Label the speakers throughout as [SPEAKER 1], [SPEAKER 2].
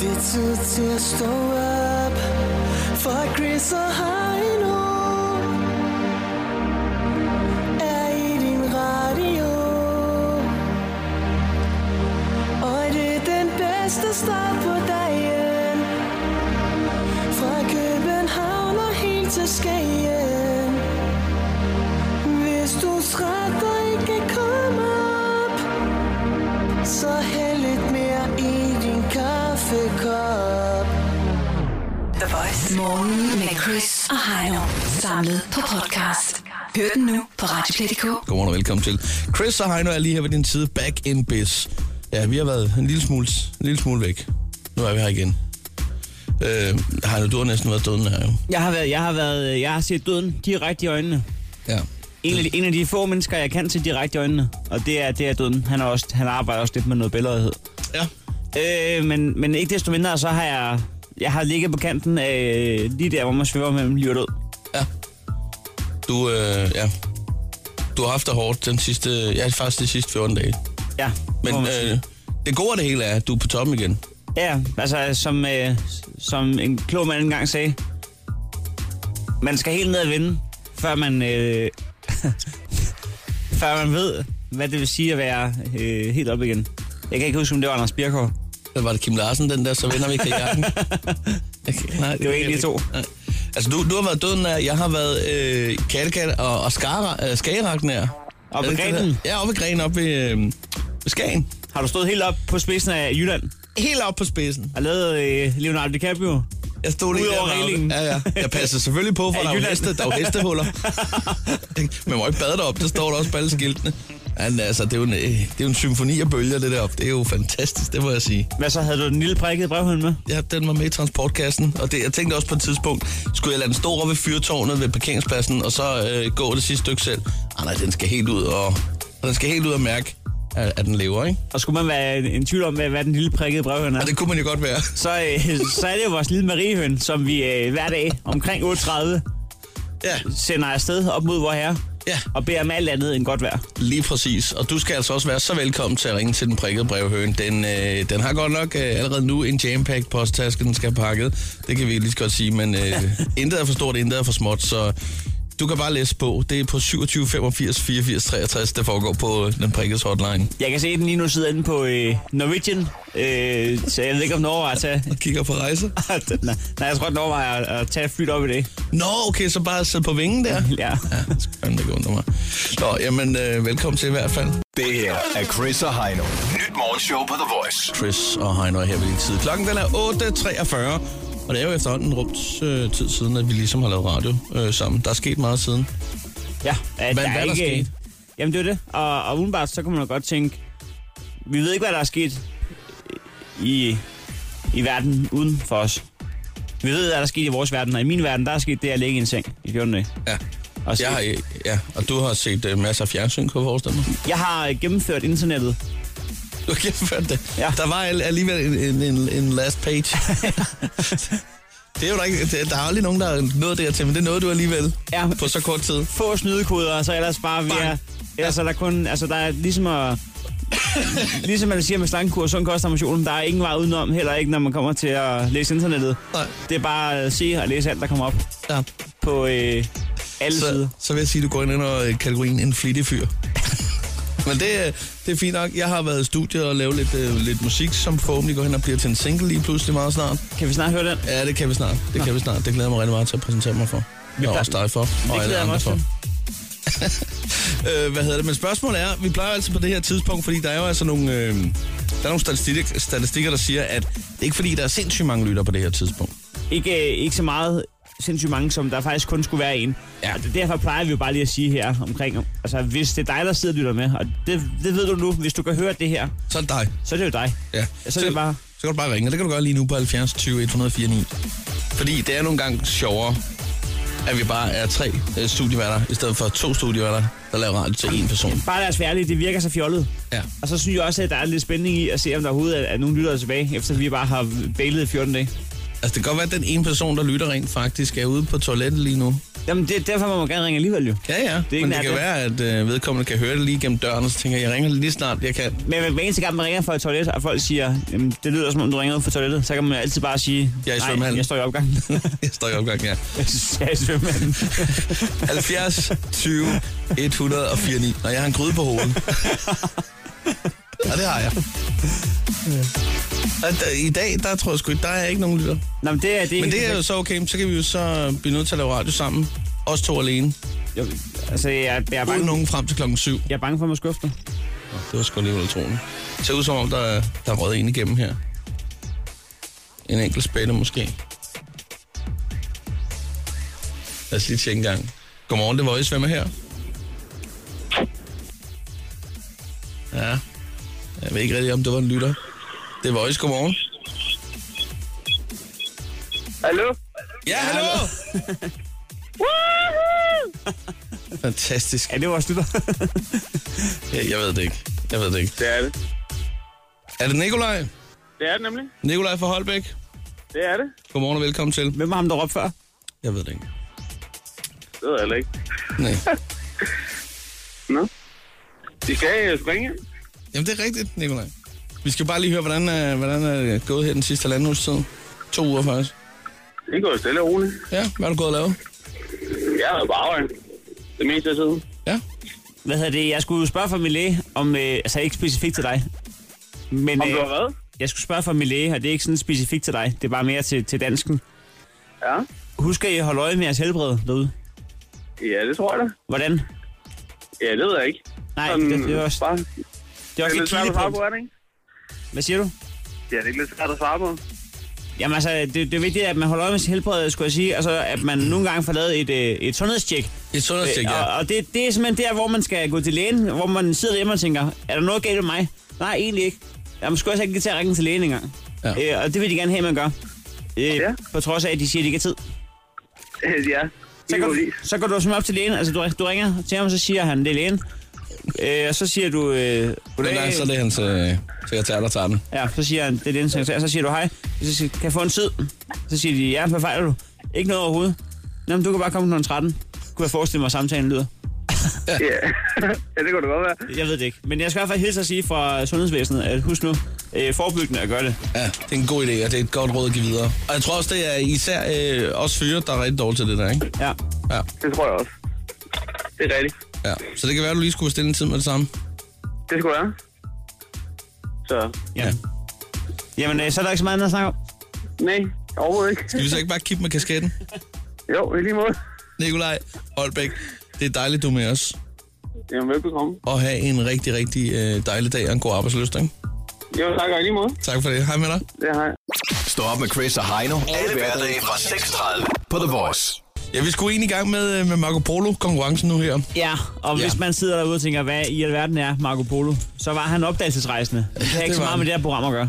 [SPEAKER 1] altid til at stå op For Chris og Heino Er i din radio Og det er den bedste start på dagen Fra København og helt til Skagen Hvis du er træt og ikke kan komme op Så hæld lidt mere i din kaffekop
[SPEAKER 2] The Voice. Morgen med Chris og Heino. Samlet på podcast. Hør den nu på Radioplay.dk.
[SPEAKER 3] Godmorgen og velkommen til. Chris og Heino er lige her ved din side, back in biz. Ja, vi har været en lille smule, en lille smule væk. Nu er vi her igen. Øh, Heino, du har næsten været døden her jo.
[SPEAKER 4] Jeg har, været, jeg, har været, jeg har set døden direkte i øjnene.
[SPEAKER 3] Ja.
[SPEAKER 4] En af, de, en af de få mennesker, jeg kan se direkte i øjnene, og det er, det er døden. Han, er også, han arbejder også lidt med noget bælgerhed.
[SPEAKER 3] Ja.
[SPEAKER 4] Øh, men, men ikke desto mindre, så har jeg, jeg har ligget på kanten af øh, lige der, hvor man svæver mellem liv og død.
[SPEAKER 3] Ja. Du, øh, ja. Du har haft det hårdt den sidste, ja, faktisk de sidste 14 dage.
[SPEAKER 4] Ja,
[SPEAKER 3] Men
[SPEAKER 4] må man sige.
[SPEAKER 3] øh, det gode af det hele er, at du er på toppen igen.
[SPEAKER 4] Ja, altså som, øh, som en klog mand engang sagde, man skal helt ned og vinde, før man, øh, før man ved, hvad det vil sige at være øh, helt op igen. Jeg kan ikke huske, om det var Anders Birkhoff.
[SPEAKER 3] Hvad var det, Kim Larsen, den der, så vinder vi karrieren? Okay, nej,
[SPEAKER 4] Det var en af de to.
[SPEAKER 3] Nej. Altså, du, du har været døden af, jeg har været øh, Kattegat og, og skara, øh, Skagerak nær.
[SPEAKER 4] Oppe
[SPEAKER 3] Er det
[SPEAKER 4] ved
[SPEAKER 3] ikke det
[SPEAKER 4] grenen?
[SPEAKER 3] der? Ja, oppe ved grenen, oppe ved, øh, ved Skagen.
[SPEAKER 4] Har du stået helt op på spidsen af Jylland
[SPEAKER 3] Helt op på spidsen.
[SPEAKER 4] og lavet øh, Leonardo DiCaprio?
[SPEAKER 3] Jeg stod lige
[SPEAKER 4] Ud over
[SPEAKER 3] deroppe.
[SPEAKER 4] reglingen.
[SPEAKER 3] Ja, ja. Jeg passer selvfølgelig på, for
[SPEAKER 4] Ja,
[SPEAKER 3] der er, jo
[SPEAKER 4] Jylland.
[SPEAKER 3] heste, der er jo hestehuller. Man må ikke bade derop, det står der også på alle skiltene. Men altså, det er, jo en, øh, det er jo en symfoni af bølger, det deroppe. Det er jo fantastisk, det må jeg sige.
[SPEAKER 4] Hvad så, havde du den lille prikkede brevhund med?
[SPEAKER 3] Ja, den var med i transportkassen, og det, jeg tænkte også på et tidspunkt, skulle jeg lade den stå over ved fyrtårnet ved parkeringspladsen, og så øh, gå det sidste stykke selv? Ah, nej, den skal helt ud og, og den skal helt ud og mærke, at, at den lever, ikke?
[SPEAKER 4] Og skulle man være en, en tvivl om, hvad, hvad den lille prikkede brevhund er?
[SPEAKER 3] Og det kunne man jo godt være.
[SPEAKER 4] Så, øh, så er det jo vores lille Mariehøn, som vi øh, hver dag omkring 8.30
[SPEAKER 3] Ja,
[SPEAKER 4] sender afsted op mod vor herre
[SPEAKER 3] Ja.
[SPEAKER 4] og beder om alt andet end godt vejr.
[SPEAKER 3] lige præcis. Og du skal altså også være så velkommen til at ringe til den prikkede brevhøen. Den, øh, den har godt nok øh, allerede nu en jam-pack posttaske, den skal have pakket. Det kan vi lige så godt sige, men øh, intet er for stort, intet er for småt, så du kan bare læse på. Det er på 27 85 84 63, der foregår på øh, den prikkedes hotline.
[SPEAKER 4] Jeg kan se, at den lige nu sidder inde på øh, Norwegian, øh, så jeg ved ikke, om den overvejer at tage...
[SPEAKER 3] kigger på rejser.
[SPEAKER 4] Nej, nej, jeg tror, den overvejer at, at tage flyt op i dag.
[SPEAKER 3] Nå, okay, så bare sidde på vingen der.
[SPEAKER 4] Ja.
[SPEAKER 3] Ja, det skal ikke undre mig. Nå, jamen, øh, velkommen til i hvert fald.
[SPEAKER 5] Det her er Chris og Heino. Nyt morgenshow på The Voice.
[SPEAKER 3] Chris og Heino er her ved din tid. Klokken den er 8.43, og det er jo efterhånden rumt øh, tid siden, at vi ligesom har lavet radio øh, sammen. Der er sket meget siden.
[SPEAKER 4] Ja, at
[SPEAKER 3] hvad er der
[SPEAKER 4] øh,
[SPEAKER 3] sket?
[SPEAKER 4] Jamen, det er det. Og, og udenbart, så kan man jo godt tænke, vi ved ikke, hvad der er sket i, i verden uden for os. Vi ved, hvad der er sket i vores verden, og i min verden, der er sket det at ligge i en seng i 14 dage.
[SPEAKER 3] Ja.
[SPEAKER 4] Og se-
[SPEAKER 3] Jeg har, øh, ja, og du har set øh, masser af fjernsyn, kunne jeg forestille mig.
[SPEAKER 4] Jeg har øh, gennemført internettet.
[SPEAKER 3] Du har gennemført det.
[SPEAKER 4] Ja.
[SPEAKER 3] Der var al- alligevel en, en, en, en last page. det er jo der ikke, det- der er aldrig nogen, der er nået dertil, men det nåede du alligevel
[SPEAKER 4] Ja.
[SPEAKER 3] på så kort tid.
[SPEAKER 4] få snydekoder, og så ellers bare ved
[SPEAKER 3] Bang.
[SPEAKER 4] at... Ellers er der kun... Altså, der er ligesom at... ligesom man siger med slangekur, sund kost og motion, der er ingen vej udenom, heller ikke, når man kommer til at læse internettet.
[SPEAKER 3] Nej.
[SPEAKER 4] Det er bare at se og læse alt, der kommer op
[SPEAKER 3] Ja.
[SPEAKER 4] på øh, alle så...
[SPEAKER 3] så,
[SPEAKER 4] sider.
[SPEAKER 3] så vil jeg sige, at du går ind under øh, kategorien en flittig fyr. Men det, øh, det er fint nok. Jeg har været i studiet og lavet lidt, øh, lidt musik, som forhåbentlig går hen og bliver til en single lige pludselig meget snart.
[SPEAKER 4] Kan vi snart høre den?
[SPEAKER 3] Ja, det kan vi snart. Det kan vi snart. Det glæder jeg mig rigtig meget til at præsentere mig for. Vi og
[SPEAKER 4] plejer-
[SPEAKER 3] også dig for.
[SPEAKER 4] Det
[SPEAKER 3] og alle
[SPEAKER 4] glæder jeg
[SPEAKER 3] andre
[SPEAKER 4] mig også
[SPEAKER 3] for.
[SPEAKER 4] til.
[SPEAKER 3] Øh, hvad hedder det? Men spørgsmålet er, vi plejer altid på det her tidspunkt, fordi der er jo altså nogle, øh, der er nogle statistik, statistikker, der siger, at det er ikke fordi, der er sindssygt mange lytter på det her tidspunkt.
[SPEAKER 4] Ikke, øh, ikke så meget sindssygt mange, som der faktisk kun skulle være en.
[SPEAKER 3] Ja.
[SPEAKER 4] Og derfor plejer vi jo bare lige at sige her omkring, altså hvis det er dig, der sidder og lytter med, og det, det ved du nu, hvis du kan høre det her,
[SPEAKER 3] Så er det dig.
[SPEAKER 4] så er det jo dig.
[SPEAKER 3] Ja.
[SPEAKER 4] Så er det bare-
[SPEAKER 3] så kan du bare ringe, og det kan du gøre lige nu på 70 20 104 9. Fordi det er nogle gange sjovere, at vi bare er tre øh, studieværter, i stedet for to studieværter, der laver radio til én person.
[SPEAKER 4] Bare lad os være ærlige, det virker så fjollet.
[SPEAKER 3] Ja.
[SPEAKER 4] Og så synes jeg også, at der er lidt spænding i at se, om der overhovedet er, er nogen lyttere tilbage, efter vi bare har bailet i 14 dage.
[SPEAKER 3] Altså, det kan godt være, at den ene person, der lytter rent faktisk, er ude på toilettet lige nu.
[SPEAKER 4] Jamen, det, derfor må man gerne ringe alligevel jo.
[SPEAKER 3] Ja, ja. Det
[SPEAKER 4] ikke
[SPEAKER 3] men det kan
[SPEAKER 4] nat,
[SPEAKER 3] være, at øh, vedkommende kan høre det lige gennem døren, og så tænker jeg, jeg ringer lige snart, jeg kan.
[SPEAKER 4] Men hver eneste gang, man ringer fra et toilet, og folk siger, Jamen, det lyder som om, du ringer ud fra toilettet, så kan man altid bare sige,
[SPEAKER 3] Jeg er i
[SPEAKER 4] "Nej,
[SPEAKER 3] svømmehallen."
[SPEAKER 4] jeg står i opgangen.
[SPEAKER 3] Jeg står i opgang, ja.
[SPEAKER 4] jeg er i svømmehallen.
[SPEAKER 3] 70, 20, 104, 9. Og jeg har en gryde på hovedet. og det har jeg. Og der, øh, I dag, der tror jeg sgu ikke, der er ikke nogen lytter.
[SPEAKER 4] Nå, men det er det.
[SPEAKER 3] Men det er jo så okay, så kan vi jo så blive nødt til at lave radio sammen. Os to alene.
[SPEAKER 4] Jo, altså, jeg, jeg, er
[SPEAKER 3] Uden
[SPEAKER 4] bange,
[SPEAKER 3] nogen frem til klokken 7.
[SPEAKER 4] jeg er bange for, at man skuffer.
[SPEAKER 3] Det var sgu alligevel utroligt. Det ser ud som om, der, er- der er røget en igennem her. En enkelt spætte måske. Lad os lige tjekke en gang. Godmorgen, det var Voice. Hvem er her? Ja. Jeg ved ikke rigtig, om det var en lytter. Det er Voice. Godmorgen.
[SPEAKER 6] Hallo?
[SPEAKER 3] Ja, hallo! Fantastisk.
[SPEAKER 4] Ja, det var slutter.
[SPEAKER 3] Jeg, jeg ved det ikke. Jeg ved det ikke.
[SPEAKER 6] Det er det.
[SPEAKER 3] Er det Nikolaj?
[SPEAKER 6] Det er det nemlig.
[SPEAKER 3] Nikolaj fra Holbæk.
[SPEAKER 6] Det er det.
[SPEAKER 3] Godmorgen og velkommen til.
[SPEAKER 4] Hvem var ham, der råbte før?
[SPEAKER 3] Jeg ved det ikke.
[SPEAKER 6] Det ved jeg heller ikke.
[SPEAKER 3] Nej.
[SPEAKER 6] Nå? De skal øh, springe ind.
[SPEAKER 3] Jamen, det er rigtigt, Nikolaj. Vi skal bare lige høre, hvordan, øh, hvordan er det gået her den sidste halvanden uges tid. To uger faktisk.
[SPEAKER 6] Det går jo stille og roligt.
[SPEAKER 3] Ja, hvad har du gået og lavet?
[SPEAKER 6] Jeg er jo bare arbejde. Det meste af tiden.
[SPEAKER 3] Ja.
[SPEAKER 4] Hvad hedder det? Jeg skulle spørge for min læge om... Øh, altså, ikke specifikt til dig. Men, øh,
[SPEAKER 6] Om du har hvad?
[SPEAKER 4] jeg skulle spørge for min læge, og det er ikke sådan specifikt til dig. Det er bare mere til, til dansken.
[SPEAKER 6] Ja.
[SPEAKER 4] Husk, at I holder øje med jeres helbred derude.
[SPEAKER 6] Ja, det tror jeg da.
[SPEAKER 4] Hvordan?
[SPEAKER 6] Ja, det ved jeg ikke.
[SPEAKER 4] Nej,
[SPEAKER 6] Sådan
[SPEAKER 4] det, det, er også,
[SPEAKER 6] Bare,
[SPEAKER 4] det er
[SPEAKER 6] det
[SPEAKER 4] også
[SPEAKER 6] er
[SPEAKER 4] et
[SPEAKER 6] lidt svært at svare
[SPEAKER 4] kildepunkt.
[SPEAKER 6] på, er det ikke?
[SPEAKER 4] Hvad siger du?
[SPEAKER 6] Ja, det er lidt svært at svare på.
[SPEAKER 4] Jamen altså, det, det er vigtigt, at man holder øje med sit helbred, skulle jeg sige. Altså, at man nogle gange får lavet et, øh, et sundhedstjek.
[SPEAKER 3] Et sundhedstjek,
[SPEAKER 4] Øh,
[SPEAKER 3] ja.
[SPEAKER 4] Og, og det, det er simpelthen der, hvor man skal gå til lægen, hvor man sidder hjemme og tænker, er der noget galt med mig? Nej, egentlig ikke. Jamen, skulle jeg så ikke lige til at ringe til lægen engang?
[SPEAKER 3] Ja.
[SPEAKER 4] Øh, og det vil de gerne have, man gør. Øh,
[SPEAKER 6] Ja. Øh,
[SPEAKER 4] På trods af, at de siger, at de ikke har tid.
[SPEAKER 6] ja.
[SPEAKER 4] Så
[SPEAKER 6] lige
[SPEAKER 4] går,
[SPEAKER 6] præcis.
[SPEAKER 4] så går du simpelthen op til lægen, altså du, du ringer til ham, og så siger han, det er lægen. Øh, og så siger du, øh,
[SPEAKER 3] Hvordan er så er det hans øh, sekretær, der tager den?
[SPEAKER 4] Ja, så siger han, det er den sekretær, så siger du hej, så siger, kan jeg få en tid? Så siger de, ja, hvad fejler du? Ikke noget overhovedet. Nå, men du kan bare komme kl. 13. Kunne jeg forestille mig, at samtalen lyder?
[SPEAKER 6] Ja. ja, det kunne det godt være.
[SPEAKER 4] Jeg ved det ikke. Men jeg skal i hvert fald hilse at sige fra sundhedsvæsenet, at husk nu, øh, forebyggende at gøre det.
[SPEAKER 3] Ja, det er en god idé, og det er et godt råd at give videre. Og jeg tror også, det er især øh, os fyre, der er rigtig dårlige til det der, ikke?
[SPEAKER 4] Ja.
[SPEAKER 3] Ja,
[SPEAKER 6] Det tror jeg også. Det er rigtigt.
[SPEAKER 3] ja. Så det kan være, at du lige skulle bestille en tid med det samme.
[SPEAKER 6] Det skulle jeg. Så,
[SPEAKER 4] ja. Jamen, øh, så er der ikke så meget andet at snakke om.
[SPEAKER 6] nej, overhovedet ikke.
[SPEAKER 3] Skal vi så ikke bare kigge med kasketten?
[SPEAKER 6] Jo, i lige måde.
[SPEAKER 3] Nikolaj Holbæk, det er dejligt, du er med os.
[SPEAKER 6] Jamen, velbekomme.
[SPEAKER 3] Og have en rigtig, rigtig øh, dejlig dag og en god arbejdsløst, ikke?
[SPEAKER 6] Jo, tak og i lige måde.
[SPEAKER 3] Tak for det. Hej med dig.
[SPEAKER 6] Det har jeg.
[SPEAKER 5] Stå op med Chris og Heino. Alle hverdage fra 6.30 på The Voice.
[SPEAKER 3] Ja, vi skulle egentlig i gang med, øh, med Marco Polo-konkurrencen nu her.
[SPEAKER 4] Ja, og
[SPEAKER 3] Ja.
[SPEAKER 4] ja. hvis man sidder derude og tænker, hvad i alverden er Marco Polo, så var han opdagelsesrejsende. Det har
[SPEAKER 3] det
[SPEAKER 4] ikke så
[SPEAKER 3] var
[SPEAKER 4] meget
[SPEAKER 3] han.
[SPEAKER 4] med det her program at gøre.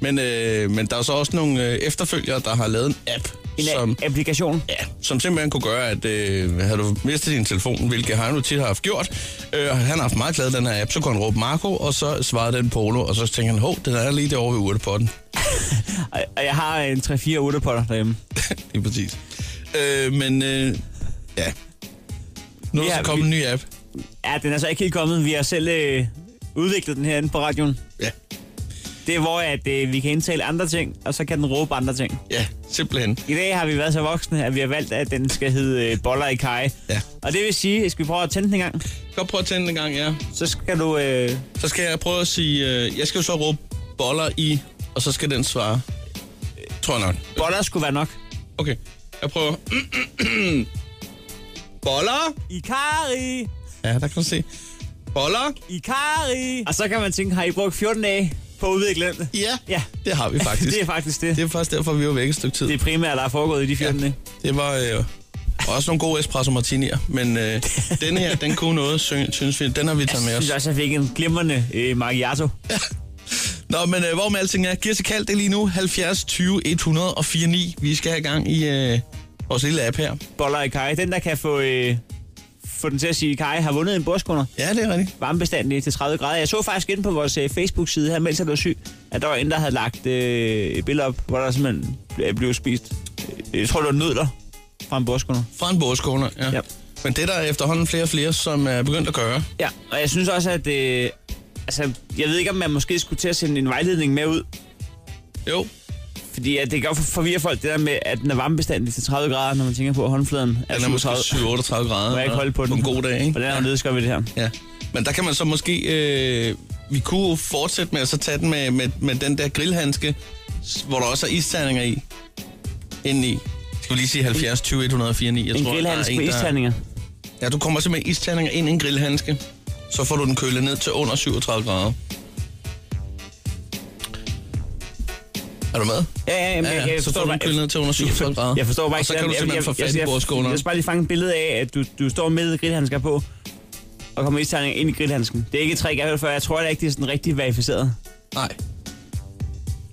[SPEAKER 3] Men, øh, men der er så også nogle øh, efterfølgere, der har lavet en app,
[SPEAKER 4] En
[SPEAKER 3] som,
[SPEAKER 4] a- applikation.
[SPEAKER 3] ja, som simpelthen kunne gøre, at øh, havde du mistet din telefon, hvilket han jo tit har haft gjort, øh, han har haft meget glæde af den her app, så kunne han råbe Marco, og så svarede den Polo, og så tænkte han, hov, den er lige derovre ved urtepotten.
[SPEAKER 4] Og- Og jeg har en 3-4 urter på dig derhjemme.
[SPEAKER 3] lige præcis. Øh, men øh, ja, nu er der
[SPEAKER 4] Ja,
[SPEAKER 3] så kommet en ny app.
[SPEAKER 4] Ja, den er så ikke helt kommet. Vi har selv øh, udviklet den herinde på radioen.
[SPEAKER 3] Ja,
[SPEAKER 4] Det er hvor, at øh, vi kan indtale andre ting, og så kan den råbe andre ting.
[SPEAKER 3] ja, simpelthen.
[SPEAKER 4] I dag har vi været så voksne, at vi har valgt, at den skal hedde øh, Boller i Kaj.
[SPEAKER 3] Ja.
[SPEAKER 4] Og det vil sige, skal vi prøve at tænde den en gang?
[SPEAKER 3] Godt prøve at tænde en gang, ja.
[SPEAKER 4] Så skal du... Øh,
[SPEAKER 3] Så skal jeg prøve at sige, øh, jeg skal jo så råbe boller i, og så skal den svare. Tror jeg nok.
[SPEAKER 4] boller skulle være nok.
[SPEAKER 3] Okay, jeg prøver. Boller?
[SPEAKER 4] Ikari!
[SPEAKER 3] Ja, der kan du se. Boller?
[SPEAKER 4] Ikari! Og så kan man tænke, har I brugt 14 dage på at udvikle den?
[SPEAKER 3] Ja,
[SPEAKER 4] Ja.
[SPEAKER 3] det har vi faktisk.
[SPEAKER 4] det er faktisk det.
[SPEAKER 3] det
[SPEAKER 4] det.
[SPEAKER 3] er faktisk derfor, vi var væk et stykke tid.
[SPEAKER 4] Det er primært, der er foregået i de 14 dage.
[SPEAKER 3] det var øh, også nogle gode espresso martinier, men øh, denne her, den kunne noget, sy- synes vi. Den har vi taget med
[SPEAKER 4] Jeg
[SPEAKER 3] os.
[SPEAKER 4] synes også, jeg fik en glimrende øh, macchiato.
[SPEAKER 3] Nå, men øh, hvor med alting er, giv os et kald det er lige nu. 70 20 104 9. Vi skal have gang i øh, vores lille app her.
[SPEAKER 4] Boller i Kaj. Den, der kan få, øh, få den til at sige, Kaj har vundet en bordskunder.
[SPEAKER 3] Ja, det er rigtigt.
[SPEAKER 4] varmebestanden til 30 grader. Jeg så faktisk inde på vores øh, Facebook-side her, mens jeg var syg, at der var en, der øh, havde lagt øh, et billede op, hvor der simpelthen ble- blev spist. øh, Jeg tror, det var nudler. fra en bordskåner.
[SPEAKER 3] Fra en bordskåner, ja.
[SPEAKER 4] Ja.
[SPEAKER 3] Men det er der efterhånden flere og flere, som er begyndt at gøre.
[SPEAKER 4] Ja, og jeg synes også, at... Øh, altså, jeg ved ikke, om man måske skulle til at sende en vejledning med ud,
[SPEAKER 3] Jo,
[SPEAKER 4] fordi at det kan godt forvirre folk, det der med, at den er varmebestændig til 30 grader, når man tænker på at håndfladen.
[SPEAKER 3] den er måske 7-38 grader.
[SPEAKER 4] Altså, Må jeg ikke holde på
[SPEAKER 3] på
[SPEAKER 4] den?
[SPEAKER 3] en god dag, ikke?
[SPEAKER 4] Hvordan er det, skal vi det her?
[SPEAKER 3] Ja. Men der kan man så måske... Øh, vi kunne jo fortsætte med at så tage den med, med, med den der grillhandske, s- hvor der også er isterninger i. Indeni. Skal vi lige sige 70 20 149? Jeg tror,
[SPEAKER 4] En
[SPEAKER 3] der er
[SPEAKER 4] grillhandsk
[SPEAKER 3] en,
[SPEAKER 4] på
[SPEAKER 3] der-
[SPEAKER 4] isterninger.
[SPEAKER 3] Ja, du kommer simpelthen isterninger ind i en grillhandske. Så får du den kølet ned til under 37 grader. Er du med?
[SPEAKER 4] Ja, ja, jamen,
[SPEAKER 3] Ja,
[SPEAKER 4] jeg,
[SPEAKER 3] ja,
[SPEAKER 4] jeg, jeg
[SPEAKER 3] så får
[SPEAKER 4] forstår
[SPEAKER 3] du
[SPEAKER 4] bare,
[SPEAKER 3] den kølet ned til under 37 grader.
[SPEAKER 4] jeg forstår bare
[SPEAKER 3] Og
[SPEAKER 4] ikke,
[SPEAKER 3] så kan du
[SPEAKER 4] hvordan- jeg-
[SPEAKER 3] simpelthen
[SPEAKER 4] jeg-
[SPEAKER 3] få
[SPEAKER 4] jeg-
[SPEAKER 3] fat i
[SPEAKER 4] jeg-
[SPEAKER 3] bordskåneren.
[SPEAKER 4] Jeg skal bare lige fange et billede af, at du, du står med grillhandsker på, og kommer isterninger ind i grillhandsken. Det er ikke et trick, jeg har hørt før. Jeg tror da ikke, det er sådan rigtig verificeret.
[SPEAKER 3] Nej.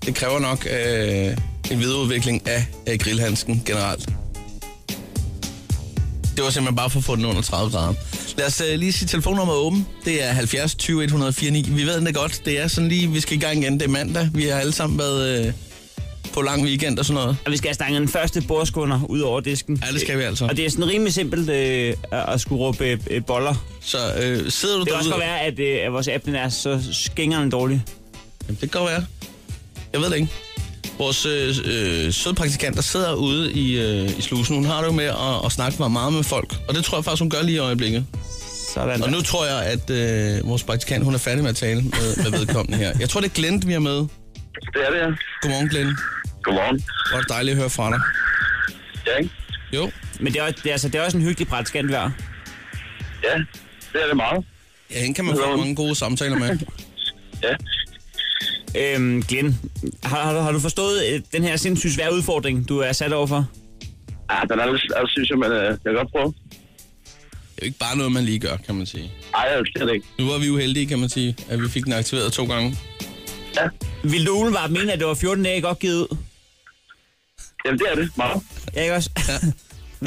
[SPEAKER 3] Det kræver nok øh, en videreudvikling af øh, grillhandsken generelt. Det var simpelthen bare for at få den under 30 grader. Lad os øh, lige sige telefonnummeret åben. Det er 70 20 149. Vi ved det godt. Det er sådan lige, vi skal i gang igen. Det er mandag. Vi har alle sammen været øh, på lang weekend og sådan noget.
[SPEAKER 4] Og vi skal have stanget den første bordskunder ud over disken.
[SPEAKER 3] Ja, det skal vi altså.
[SPEAKER 4] Og det er sådan rimelig simpelt øh, at at skulle råbe øh, øh, boller.
[SPEAKER 3] Så øh, sidder du
[SPEAKER 4] Det kan
[SPEAKER 3] derude...
[SPEAKER 4] også godt være, at, øh, at vores app den er så skængeren dårlig.
[SPEAKER 3] Jamen, det kan godt være. Jeg ved det ikke. Vores øh, øh, søde praktikant, der sidder ude i, øh, i slusen, hun har det jo med at, at snakke meget, meget med folk. Og det tror jeg faktisk, hun gør lige i øjeblikket.
[SPEAKER 4] Sådan
[SPEAKER 3] Og nu tror jeg, at øh, vores praktikant, hun er færdig med at tale med, med vedkommende her. Jeg tror, det er Glenn, vi er med.
[SPEAKER 6] Det er det, ja.
[SPEAKER 3] Godmorgen, Glenn.
[SPEAKER 6] Godmorgen.
[SPEAKER 3] Hvor er det dejligt at høre fra dig.
[SPEAKER 6] Ja, ikke?
[SPEAKER 3] Jo.
[SPEAKER 4] Men det er, også- det, er, altså, det er også en hyggelig praktikant hver.
[SPEAKER 6] Ja, det er det meget.
[SPEAKER 3] Ja, hende kan man få
[SPEAKER 6] Godmorgen.
[SPEAKER 3] mange gode samtaler med.
[SPEAKER 6] Ja.
[SPEAKER 4] Øhm, Glenn, har, har, du, har du forstået øh, den her sindssygt svære udfordring, du er sat overfor?
[SPEAKER 6] Ja, den er, lidt- altså, synes jeg, man øh, jeg kan godt prøve.
[SPEAKER 3] Det er jo ikke bare noget, man lige gør, kan man sige.
[SPEAKER 6] Ej, jeg er det ikke.
[SPEAKER 3] Nu var vi jo heldige, kan man sige, at vi fik den aktiveret to gange.
[SPEAKER 6] Ja.
[SPEAKER 4] Vil du umiddelbart mene, at det var 14 dage godt givet ud?
[SPEAKER 6] Jamen, det er det. Meget.
[SPEAKER 4] Ja, ikke også? Ja.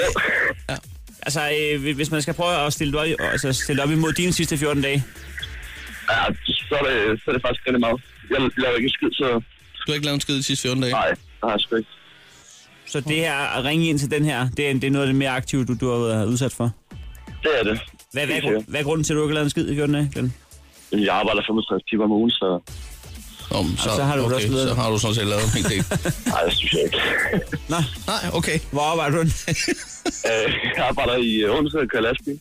[SPEAKER 3] Ja.
[SPEAKER 4] Altså, øh, hvis- hvis man skal prøve at stille dig op, altså, stille op imod dine sidste 14 dage.
[SPEAKER 6] Ja, så er det, så er det faktisk rigtig meget. Jeg laver ikke en skid, så
[SPEAKER 3] Du har ikke lavet en skid de sidste 14 dage.
[SPEAKER 6] nej, det har jeg sgu ikke.
[SPEAKER 4] Så det her at ringe ind til den her, det er, det er noget af det mere aktive, du, du har været udsat for.
[SPEAKER 6] Det er det.
[SPEAKER 4] Hvad, hvad,
[SPEAKER 6] Helt
[SPEAKER 4] hvad,
[SPEAKER 6] sikkert.
[SPEAKER 4] hvad er grunden til, at du ikke har lavet en skid i 14 dage, Glenn?
[SPEAKER 6] Jamen, Jeg arbejder 35 timer om ugen, så
[SPEAKER 3] Nå, men så,
[SPEAKER 4] så har du vel
[SPEAKER 3] okay,
[SPEAKER 4] også lavet-
[SPEAKER 3] så har du sådan set lavet en hel del.
[SPEAKER 6] nej, det synes jeg ikke.
[SPEAKER 4] Nå,
[SPEAKER 3] Nej, okay.
[SPEAKER 4] hvor arbejder du?
[SPEAKER 6] Øh, jeg arbejder i øh, Odense og kører lastbil.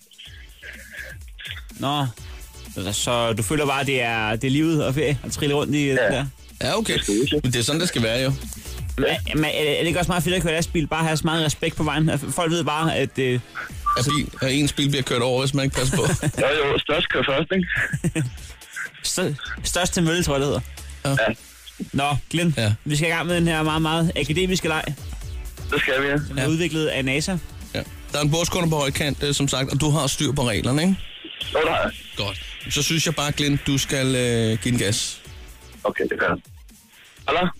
[SPEAKER 4] Nå, Altså, så du føler bare, at det er, det er livet og ferie at trille rundt i ja. der?
[SPEAKER 3] Ja, okay. Men det er sådan, det skal være jo.
[SPEAKER 4] Er, men er, er det ikke også meget fedt at køre lastbil? Bare have så meget respekt på vejen. At Folk ved bare, at... Øh,
[SPEAKER 3] At, bil, at ens bil bliver kørt over, hvis man ikke passer på.
[SPEAKER 6] Jo, jo, størst kører først, ikke?
[SPEAKER 4] Stør- Størst til mølle, tror jeg, det hedder.
[SPEAKER 6] Ja.
[SPEAKER 4] Nå, Glenn, ja.
[SPEAKER 3] Ja.
[SPEAKER 4] vi skal i gang med den her meget, meget akademiske leg,
[SPEAKER 6] Det skal vi, ja.
[SPEAKER 4] som ja. er
[SPEAKER 3] Ja.
[SPEAKER 4] udviklet af NASA.
[SPEAKER 3] Ja. Der er en bordskunder på højkant, øh, som sagt, og du har styr på reglerne, ikke?
[SPEAKER 6] Jo, det har jeg.
[SPEAKER 3] Godt. Så synes jeg bare, Glenn, du skal øh, give en gas.
[SPEAKER 6] Okay, det gør jeg. Eller?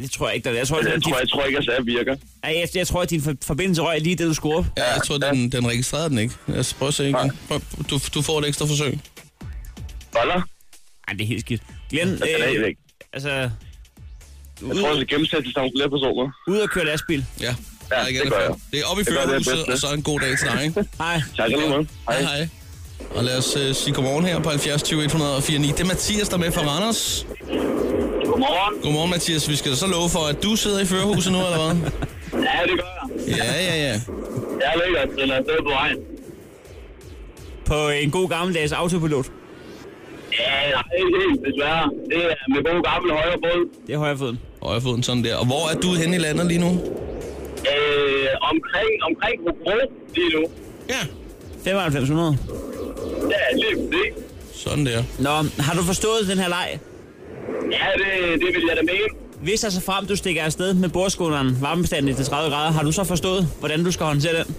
[SPEAKER 4] Det tror jeg ikke, der er. Jeg tror,
[SPEAKER 6] Altså,
[SPEAKER 4] at
[SPEAKER 6] jeg
[SPEAKER 4] din,
[SPEAKER 6] tror, jeg tror ikke, at jeg virker.
[SPEAKER 4] Ej, jeg, jeg tror, at din for, forbindelse røg lige det, du skulle op.
[SPEAKER 3] Ja, jeg tror, den, den registrerede den ikke. Lad os prøve at se igen. Prøv, du, du får et ekstra forsøg.
[SPEAKER 6] Eller?
[SPEAKER 4] Ej, det er helt skidt. Glenn,
[SPEAKER 6] Jeg kan
[SPEAKER 4] øh,
[SPEAKER 6] øh, ikke.
[SPEAKER 4] altså...
[SPEAKER 6] Jeg tror, det er gennemsnitligt sammen flere personer.
[SPEAKER 4] Ud at køre lastbil.
[SPEAKER 3] Ja.
[SPEAKER 6] Ja,
[SPEAKER 3] Der er ikke
[SPEAKER 6] det
[SPEAKER 3] andet
[SPEAKER 6] gør
[SPEAKER 3] for.
[SPEAKER 6] jeg.
[SPEAKER 3] Det er oppe i
[SPEAKER 6] Det gør jeg, det er
[SPEAKER 3] førerhuset,
[SPEAKER 6] bedst, det.
[SPEAKER 3] og så en god dag til dig, ikke?
[SPEAKER 4] Hej.
[SPEAKER 6] Tak skal du have.
[SPEAKER 3] Hej, hej. Og lad os øh, sige godmorgen her på 70 20 104 9. Det er Mathias, der er med fra Randers.
[SPEAKER 6] Godmorgen.
[SPEAKER 3] Godmorgen, Mathias. Vi skal så love for, at du sidder i førerhuset nu, eller hvad?
[SPEAKER 6] Ja, det gør jeg.
[SPEAKER 3] Ja, ja, ja.
[SPEAKER 6] Jeg ligger og triller afsted på vejen.
[SPEAKER 4] På en god gammeldags autopilot.
[SPEAKER 6] Ja, nej, ikke helt, desværre. Det er med god gammel højre båd.
[SPEAKER 4] Det er højrefoden.
[SPEAKER 3] Højrefoden sådan der. Og hvor er du henne i landet lige nu?
[SPEAKER 6] Øh, omkring, omkring på bro lige nu.
[SPEAKER 3] Ja.
[SPEAKER 4] 9500.
[SPEAKER 6] Ja, lige det.
[SPEAKER 3] Sådan der.
[SPEAKER 4] Nå, har du forstået den her leg?
[SPEAKER 6] Ja, det, det vil jeg da mene.
[SPEAKER 4] Hvis altså frem, du stikker afsted med bordskåneren varmebestandig til 30 grader, har du så forstået, hvordan du skal håndtere den?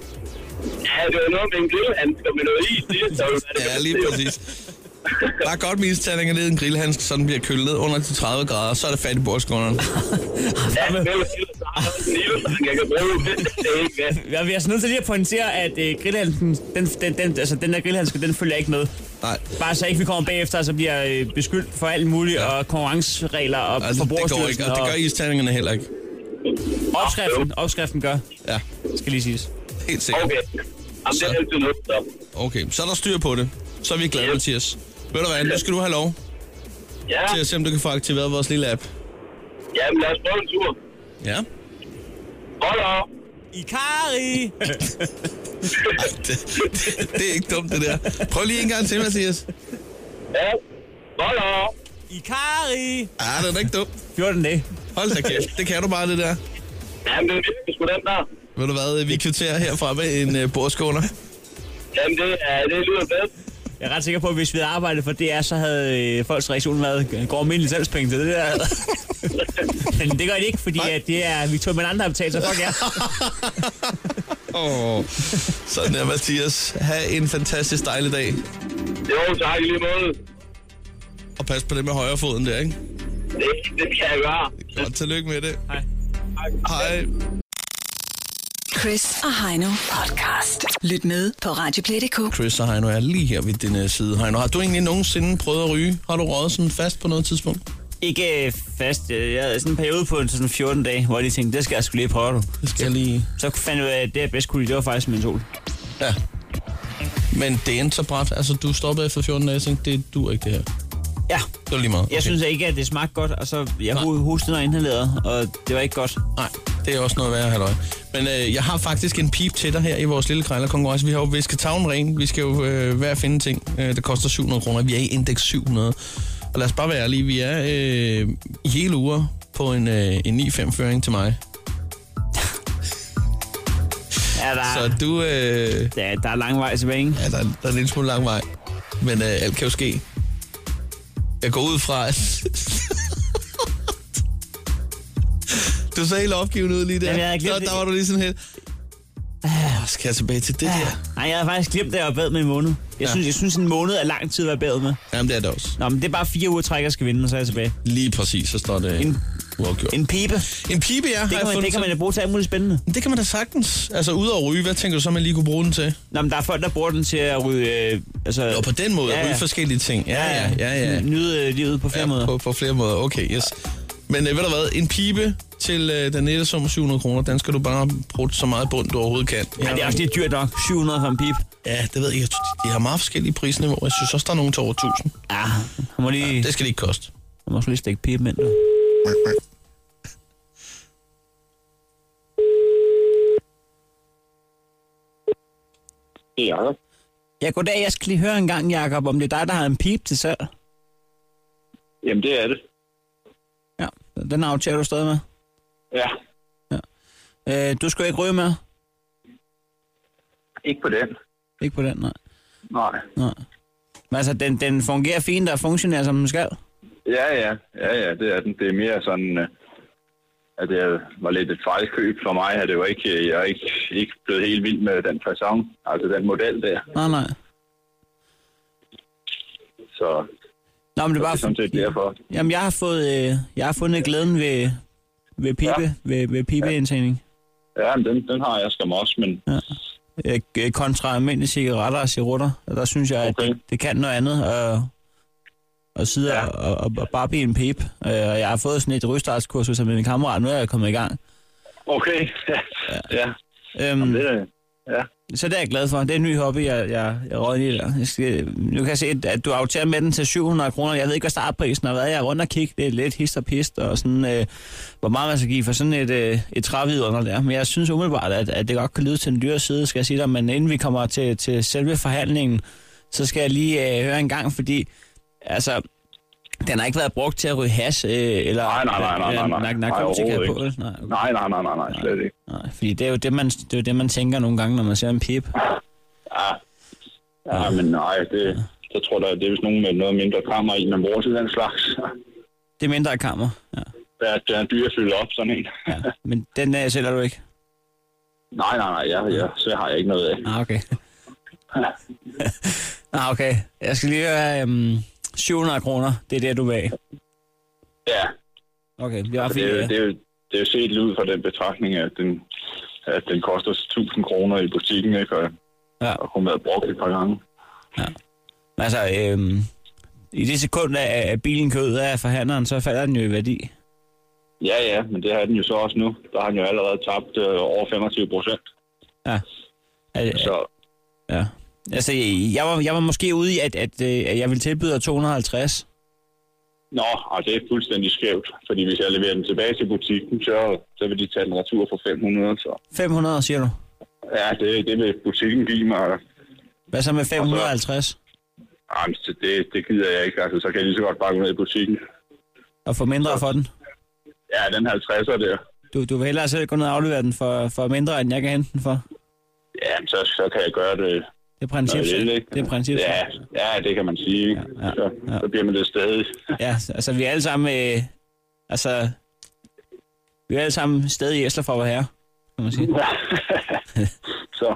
[SPEAKER 6] Ja, det var noget med en grillhandsker med noget is i. Så ville være det
[SPEAKER 3] Ja, lige
[SPEAKER 6] bedste, jo.
[SPEAKER 3] præcis. Bare godt med isterninger ned i en grillhandske, så den bliver kølet ned under de 30 grader, så er det fat i bordskåneren.
[SPEAKER 6] Ja, det er jo ellers har jeg også en ildstang, jeg kan bruge. Det er ikke hvad.
[SPEAKER 4] Jeg bliver altså nødt til lige at pointere, at øh, grillhandsken, den, den, den, altså, den der grillhandske, den følger ikke med.
[SPEAKER 3] Nej,
[SPEAKER 4] Bare så ikke vi kommer bagefter, og så bliver øh, beskyldt for alt muligt, ja. og konkurrenceregler og
[SPEAKER 3] altså, det går ikke, og det gør
[SPEAKER 4] og-
[SPEAKER 3] isterningerne heller ikke.
[SPEAKER 4] Opskriften, opskriften gør,
[SPEAKER 3] Ja,
[SPEAKER 4] skal lige siges.
[SPEAKER 3] helt sikkert.
[SPEAKER 6] Okay. Jamen, det er
[SPEAKER 3] Så.
[SPEAKER 6] altid noget, så.
[SPEAKER 3] Okay, så er der styr på det. Så er vi glade,
[SPEAKER 6] Ja.
[SPEAKER 3] Mathias. Ved du hvad, nu skal du have lov
[SPEAKER 6] Ja,
[SPEAKER 3] til at se, om du kan få aktiveret vores lille app.
[SPEAKER 6] jamen, lad os prøve en tur.
[SPEAKER 3] Ja.
[SPEAKER 6] Hold op.
[SPEAKER 4] Ikari!
[SPEAKER 3] Det, det, det er ikke dumt, det der. Prøv lige en gang til, Mathias.
[SPEAKER 6] Ja. Hold op.
[SPEAKER 4] Ikari!
[SPEAKER 3] Ah, det er da ikke dumt.
[SPEAKER 4] 14 dage.
[SPEAKER 3] Hold da kæft, det kan du bare, det der.
[SPEAKER 6] Jamen, det er virkelig sgu den der.
[SPEAKER 3] Ved du hvad, vi kvitterer herfra med en uh, bordskåner.
[SPEAKER 6] Jamen, det, er, det lyder bedst.
[SPEAKER 4] Jeg er ret sikker på, at hvis vi havde arbejdet for DR, så havde øh, folks reaktion været, øh, går almindelig salgspenge til det der. Men det gør de ikke, fordi at det er Victor Menander, der har betalt, så fuck jer.
[SPEAKER 3] Oh. Sådan der, Mathias. Ha' en fantastisk dejlig dag.
[SPEAKER 6] Jo, tak i lige måde.
[SPEAKER 3] Og pas på det med højre foden der, ikke?
[SPEAKER 6] Det, det kan jeg gøre.
[SPEAKER 3] Godt, tillykke med det.
[SPEAKER 4] Hej.
[SPEAKER 3] Hej.
[SPEAKER 2] Chris og Heino podcast. Lyt med på Radioplay.dk.
[SPEAKER 3] Chris og Heino er lige her ved din øh, side. Heino, har du egentlig nogensinde prøvet at ryge? Har du røget sådan fast på noget tidspunkt?
[SPEAKER 4] Ikke øh, fast. øh, Jeg havde sådan en periode på en sådan 14 dage, hvor jeg lige tænkte, det skal jeg skulle lige prøve du.
[SPEAKER 3] Det skal jeg lige...
[SPEAKER 4] Så fandt jeg ud af, at det jeg bedst kunne lide, det var faktisk min sol.
[SPEAKER 3] Ja. Men det endte så bræt. Altså, du stoppede efter 14 dage og tænkte, det dur ikke det her.
[SPEAKER 4] Ja,
[SPEAKER 3] Det var lige meget.
[SPEAKER 4] jeg okay. synes ikke, at det smagte godt, og så jeg ho- hostede og inhaleret, og det var ikke godt.
[SPEAKER 3] Nej, det er også noget værre, halløj. Men øh, jeg har faktisk en pip til dig her i vores lille krejlerkonkurrence. Vi har jo visket tavlen ren. Vi skal jo øh, hver finde ting. Øh, det koster 700 kroner. Vi er i indeks 700. Og lad os bare være ærlige. Vi er øh, i hele uger på en, øh, en 9-5-føring til mig.
[SPEAKER 4] Ja, der, er,
[SPEAKER 3] Så du... Øh,
[SPEAKER 4] der, der er lang vej tilbage, ikke?
[SPEAKER 3] Ja, der, er- der er en lille smule lang vej. Men øh, alt kan jo ske. Jeg går ud fra, at... du så helt opgivende ud lige der.
[SPEAKER 4] Jamen, jeg havde
[SPEAKER 3] der,
[SPEAKER 4] glemt det.
[SPEAKER 3] der var du lige sådan helt... Åh, Ah, skal jeg tilbage til det
[SPEAKER 4] Ah.
[SPEAKER 3] der?
[SPEAKER 4] Nej, jeg havde faktisk glemt, at jeg var bad med en måned. Jeg,
[SPEAKER 3] Ja.
[SPEAKER 4] synes, jeg synes, en måned er lang tid at være bad med.
[SPEAKER 3] Jamen, det er det også.
[SPEAKER 4] Nå, men det er bare fire uger træk, jeg skal vinde, og så er jeg tilbage.
[SPEAKER 3] Lige præcis, så står det en,
[SPEAKER 4] En-
[SPEAKER 3] uafgjort. En,
[SPEAKER 4] En pibe.
[SPEAKER 3] en pibe, ja,
[SPEAKER 4] Det
[SPEAKER 3] har
[SPEAKER 4] kan,
[SPEAKER 3] jeg
[SPEAKER 4] man, det
[SPEAKER 3] fundet.
[SPEAKER 4] kan man da bruge til alt muligt spændende.
[SPEAKER 3] til. det kan man da sagtens. Altså, udover at ryge, hvad tænker du så, man lige kunne bruge den til?
[SPEAKER 4] Nå, men der er folk, der bruger den til at rydde... Øh, altså,
[SPEAKER 3] Jo, på den måde, ja,
[SPEAKER 4] Ja,
[SPEAKER 3] ja.
[SPEAKER 4] ja.
[SPEAKER 3] ryge forskellige ting. Ja, ja, ja, ja.
[SPEAKER 4] N- Nyde øh, livet på flere ja, måder.
[SPEAKER 3] ja på, på flere måder. Okay, yes. Men øh, ved du hvad, en pibe til øh, den nette sum 700 kroner, den skal du bare bruge så meget bund, du overhovedet kan.
[SPEAKER 4] Ja, det er også lidt dyrt nok. 700 for en pip.
[SPEAKER 3] Ja, det ved jeg. Jeg tror, De de har meget forskellige prisniveauer. Jeg synes også, der er nogen til over 1000.
[SPEAKER 4] Ja, jeg må lige...
[SPEAKER 3] Det skal det ikke koste.
[SPEAKER 4] Jeg må også lige stikke pipen ind. du.
[SPEAKER 6] Ja.
[SPEAKER 4] Ja, goddag. Jeg skal lige høre en gang, Jacob, om det er dig, der har en pip til salg.
[SPEAKER 6] Jamen, det er det.
[SPEAKER 4] Ja, den aftaler du stadig med.
[SPEAKER 6] Ja.
[SPEAKER 4] Øh, du skal jo ikke ryge med.
[SPEAKER 6] Ikke på den.
[SPEAKER 4] Ikke på den, nej.
[SPEAKER 6] Nej.
[SPEAKER 4] Men altså, den, den fungerer fint og funktionerer, som den skal.
[SPEAKER 6] Ja, ja. Ja, ja, det er den. Det er mere sådan, øh, at det var lidt et fejlkøb for mig. At det var ikke, øh, jeg er ikke, ikke blevet helt vild med den fasong, altså den model der.
[SPEAKER 4] Nej, nej.
[SPEAKER 6] Så
[SPEAKER 4] Nå, men det er
[SPEAKER 6] det
[SPEAKER 4] bare...
[SPEAKER 6] er sådan set derfor.
[SPEAKER 4] Jamen, jeg har fået, øh, jeg har fundet glæden ved, ved pipe, ja. ved, ved pipeindtagning.
[SPEAKER 6] Ja, men den, den har jeg skam også, men
[SPEAKER 4] Øh, øh, kontra almindelige cigaretter og cirutter. Og der synes jeg, at
[SPEAKER 6] Okay.
[SPEAKER 4] det, det kan noget andet at, at sidde ja.
[SPEAKER 6] Ja.
[SPEAKER 4] og, og, og bare blive en pip. Øh, og jeg har fået sådan et rygstartskursus af min kammerat, nu er jeg kommet i gang.
[SPEAKER 6] okay. Ja, ja.
[SPEAKER 4] Øhm,
[SPEAKER 6] Det, er-
[SPEAKER 4] så det er jeg glad for. Det er en ny hobby, jeg, jeg, jeg røg i der. Jeg skal, nu kan jeg se, at du aftager med den til 700 kroner. Jeg ved ikke, hvad startprisen har været. Jeg er rundt og kigge. Det er lidt hist og pist, og sådan, øh, hvor meget man skal give for sådan et, øh, et trævidunder der. Men jeg synes umiddelbart, at, at det godt kan lyde til den dyre side, skal jeg sige dig. Men inden vi kommer til, til selve forhandlingen, så skal jeg lige øh, høre en gang, fordi altså, den har ikke været brugt til at ryge hash, øh, eller
[SPEAKER 6] Nej, nej, nej, nej, nej, nej.
[SPEAKER 4] eller
[SPEAKER 6] Nej,
[SPEAKER 4] narkotika
[SPEAKER 6] overhovedet
[SPEAKER 4] på. øh. vel? Nej, okay.
[SPEAKER 6] nej, nej, nej, nej, nej, slet ikke.
[SPEAKER 4] nej, fordi det er jo det, man, det er jo det, man tænker nogle gange, når man ser en pip.
[SPEAKER 6] Ja, men nej, det, jeg tror da, det er vist nogen med noget mindre krammer i, man bruger til den slags.
[SPEAKER 4] Det er mindre kammer, ja.
[SPEAKER 6] Der, er- der er dyre at fylde op, sådan en.
[SPEAKER 4] ja. Men den øh, sælger du ikke?
[SPEAKER 6] Nej, nej, nej, ja, ja, så har jeg ikke noget af.
[SPEAKER 4] Ah, okay. ah, okay. Jeg skal lige høre, øhm, 700 kroner, det er det, du vil have.
[SPEAKER 6] Ja, Altså,
[SPEAKER 4] Okay, det var
[SPEAKER 6] det,
[SPEAKER 4] fint.
[SPEAKER 6] er jo-
[SPEAKER 4] ja.
[SPEAKER 6] det, er jo- det er jo set ud fra den betragtning, at den, at den koster 1000 kroner i butikken, ikke? Og,
[SPEAKER 4] Ja.
[SPEAKER 6] og kun været brugt et par gange.
[SPEAKER 4] Altså, øhm, i det sekund, at, at bilen kører ud af forhandleren, så falder den jo i værdi.
[SPEAKER 6] Ja, ja, men det har den jo så også nu. Der har den jo allerede tabt øh, over 25 procent.
[SPEAKER 4] Ja. Er, det-
[SPEAKER 6] Så
[SPEAKER 4] ja. Altså, jeg var, jeg var måske ude i, at, at, øh, at jeg ville tilbyde dig 250.
[SPEAKER 6] Nå, og det er fuldstændig skævt, fordi hvis jeg leverer den tilbage til butikken, så, så vil de tage den retur for 500, så
[SPEAKER 4] 500, siger du?
[SPEAKER 6] ja, det, det vil butikken give mig.
[SPEAKER 4] Hvad så med 550?
[SPEAKER 6] Jamen, så det, det gider jeg ikke, altså så kan jeg lige så godt bare gå ned i butikken.
[SPEAKER 4] Og få mindre for den?
[SPEAKER 6] Ja, den 50'er der,
[SPEAKER 4] Du, du vil hellere selv gå ned og aflevere den for, for mindre, end jeg kan hente den for.
[SPEAKER 6] ja, men så, så kan jeg gøre det.
[SPEAKER 4] Det er
[SPEAKER 6] når jeg
[SPEAKER 4] princip.
[SPEAKER 6] vil,
[SPEAKER 4] Det
[SPEAKER 6] ikke?
[SPEAKER 4] er princip.
[SPEAKER 6] Ja, ja, det kan man sige. ikke?
[SPEAKER 4] Ja, ja,
[SPEAKER 6] så,
[SPEAKER 4] ja.
[SPEAKER 6] så bliver man det stadig.
[SPEAKER 4] Ja, altså vi er alle sammen, øh, altså, vi er alle sammen stadig æsler for vor herre, kan man sige.
[SPEAKER 6] så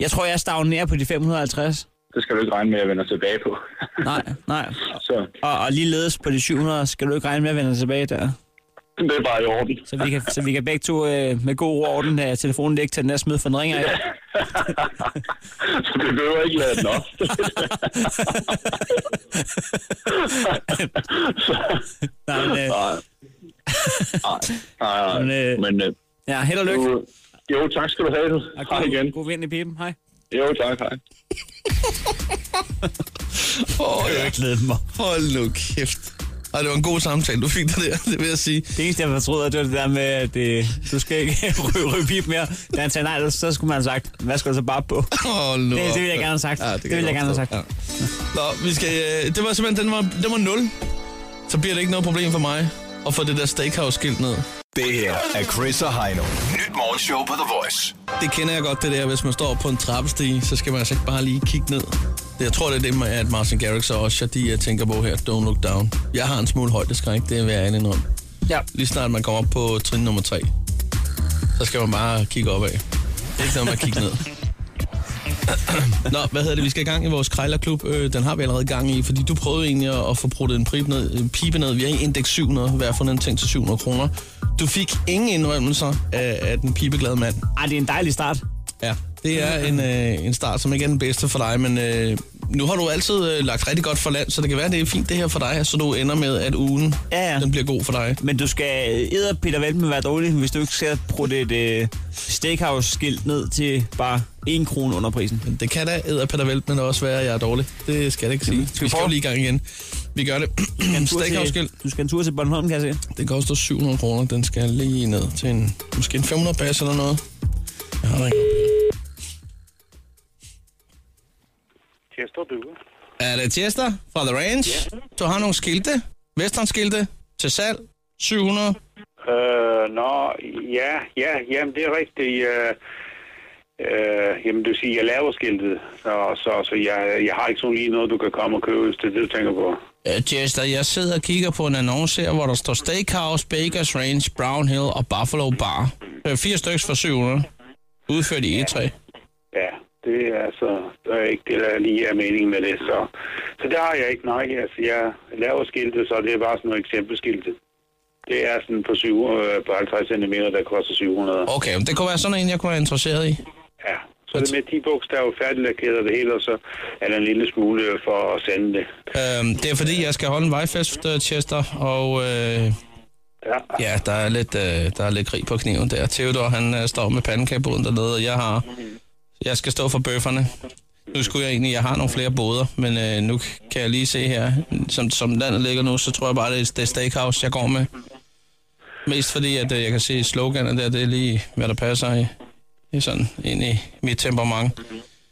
[SPEAKER 4] Jeg tror, jeg stagnerer på de 550.
[SPEAKER 6] det skal du ikke regne med, at jeg vender tilbage på.
[SPEAKER 4] Nej, nej.
[SPEAKER 6] så
[SPEAKER 4] Og, og ligeledes på de 700 skal du ikke regne med at vende tilbage der.
[SPEAKER 6] det er bare i orden.
[SPEAKER 4] Så vi kan, så vi kan begge to øh, med god ro og orden have telefonen ligge til den næste møde, for den ringer af.
[SPEAKER 6] Så vi behøver ikke lade den op. Nej. Nej, nej,
[SPEAKER 4] Nej, men, øh, Men,
[SPEAKER 6] nej.
[SPEAKER 4] øh,
[SPEAKER 6] Men, øh,
[SPEAKER 4] ja, held og lykke.
[SPEAKER 6] du, jo, tak skal du have.
[SPEAKER 4] Og
[SPEAKER 6] Hej
[SPEAKER 4] god,
[SPEAKER 6] igen.
[SPEAKER 4] god vind i pipen, hej.
[SPEAKER 6] Jo, tak, hej.
[SPEAKER 3] Åh, ja.
[SPEAKER 4] glæder mig.
[SPEAKER 3] Hold nu kæft. Ej, det var en god samtale, du fik det der, det vil jeg sige.
[SPEAKER 4] Det eneste, jeg fortryder, det var det der med, at øh, du skal ikke ryge, ryge pip mere. Da han sagde nej, ellers så skulle man have sagt, hvad skal du så bare på?
[SPEAKER 3] Hold nu
[SPEAKER 4] Det- det
[SPEAKER 3] op,
[SPEAKER 4] ville jeg
[SPEAKER 3] mand.
[SPEAKER 4] gerne have sagt.
[SPEAKER 3] Ja, det,
[SPEAKER 4] Det
[SPEAKER 3] kan
[SPEAKER 4] ville jeg
[SPEAKER 3] godt
[SPEAKER 4] gerne have
[SPEAKER 3] forstå. Ja. Nå, vi skal, øh, det var simpelthen, den var, den var 0. Så bliver det ikke noget problem for mig at få det der steakhouse-skilt ned.
[SPEAKER 5] Det her er Chris og Heino. Nyt morgenshow på The Voice.
[SPEAKER 3] Det kender jeg godt, det der, hvis man står på en trappestige, så skal man altså ikke bare lige kigge ned. Det- Jeg tror, det er det, med, at Martin Garrix og også de, jeg tænker på her, Don't Look Down. Jeg har en smule højdeskræk, det vil jeg ærlig om.
[SPEAKER 4] Ja.
[SPEAKER 3] Lige snart man kommer op på trin nummer 3, så skal man bare kigge opad. Ikke noget med at kigge ned. Nå, hvad hedder det? Vi skal i gang i vores krejlerklub. Øh, den har vi allerede gang i, fordi du prøvede egentlig at, at få pruttet en pipe ned, en pipe ned. Vi er i indeks 700, hver for en ting til 700 kroner. Du fik ingen indrømmelser af, af den pibeglade mand.
[SPEAKER 4] Ej, det er en dejlig start.
[SPEAKER 3] Ja, det er en, øh, en start, som ikke er den bedste for dig, men øh, nu har du altid øh, lagt rigtig godt for land, så det kan være, det er fint det her for dig, så du ender med, at ugen
[SPEAKER 4] Ja, ja.
[SPEAKER 3] den bliver god for dig.
[SPEAKER 4] Men du skal æder Peter Velt med at være dårlig, hvis du ikke skal bruge et øh, steakhouse-skilt ned til bare 1 krone under prisen.
[SPEAKER 3] Det kan da æder Peter Velt, men også være, at jeg er dårlig. Det skal jeg da ikke sige.
[SPEAKER 4] skal vi
[SPEAKER 3] vi skal jo
[SPEAKER 4] prøve?
[SPEAKER 3] lige i gang igen. Vi gør det.
[SPEAKER 4] En tur til-
[SPEAKER 3] Stikafskilt,
[SPEAKER 4] Du skal en tur til Bornholm, kan jeg se.
[SPEAKER 3] den koster 700 kroner. Den skal lige ned til en, måske en 500 bas eller noget. Jeg har ringet.
[SPEAKER 7] Kester Due.
[SPEAKER 3] Er det Tester fra The Range? Du har nogle skilte, Western-skilte, til salg. 700.
[SPEAKER 7] Øh, nå, ja, ja, jamen det er rigtigt. Øh, øh, jamen du siger, jeg laver skiltet, så, så, så jeg, jeg har ikke sådan lige noget, du kan komme og købe, hvis det er det, du tænker på.
[SPEAKER 3] Øh, Chester, jeg sidder og kigger på en annonce her, hvor der står Steakhouse, Bakers Range, Brown Hill og Buffalo Bar. Øh, fire stykker for 700. Udført i E E3.
[SPEAKER 7] Ja, det er altså det er ikke det, der lige er meningen med det. Så, så det har jeg ikke, nej. Altså, jeg laver skilte, så det er bare sådan nogle eksempelskilte. Det er sådan på, syv, øh, på 50 cm, der koster 700.
[SPEAKER 3] Okay, men det kunne være sådan en, jeg kunne være interesseret i.
[SPEAKER 7] Ja, så er det med de bogstaver færdiglakeret og det hele, og så er der en lille smule for at sende det.
[SPEAKER 3] Øhm, det er fordi, jeg skal holde en vejfest, øh, Chester, og øh,
[SPEAKER 7] Ja.
[SPEAKER 3] ja, der er, lidt, øh, der er lidt krig på kniven der. Theodor, han øh, står med pandekagebåden dernede, og jeg har... Jeg skal stå for bøfferne. Nu skulle jeg egentlig, jeg har nogle flere boder, men øh, nu kan jeg lige se her, som, som landet ligger nu, så tror jeg bare, det er, det er steakhouse, jeg går med. Mest fordi, at øh, jeg kan se sloganet der, det er lige, hvad der passer i, i sådan, ind i mit temperament.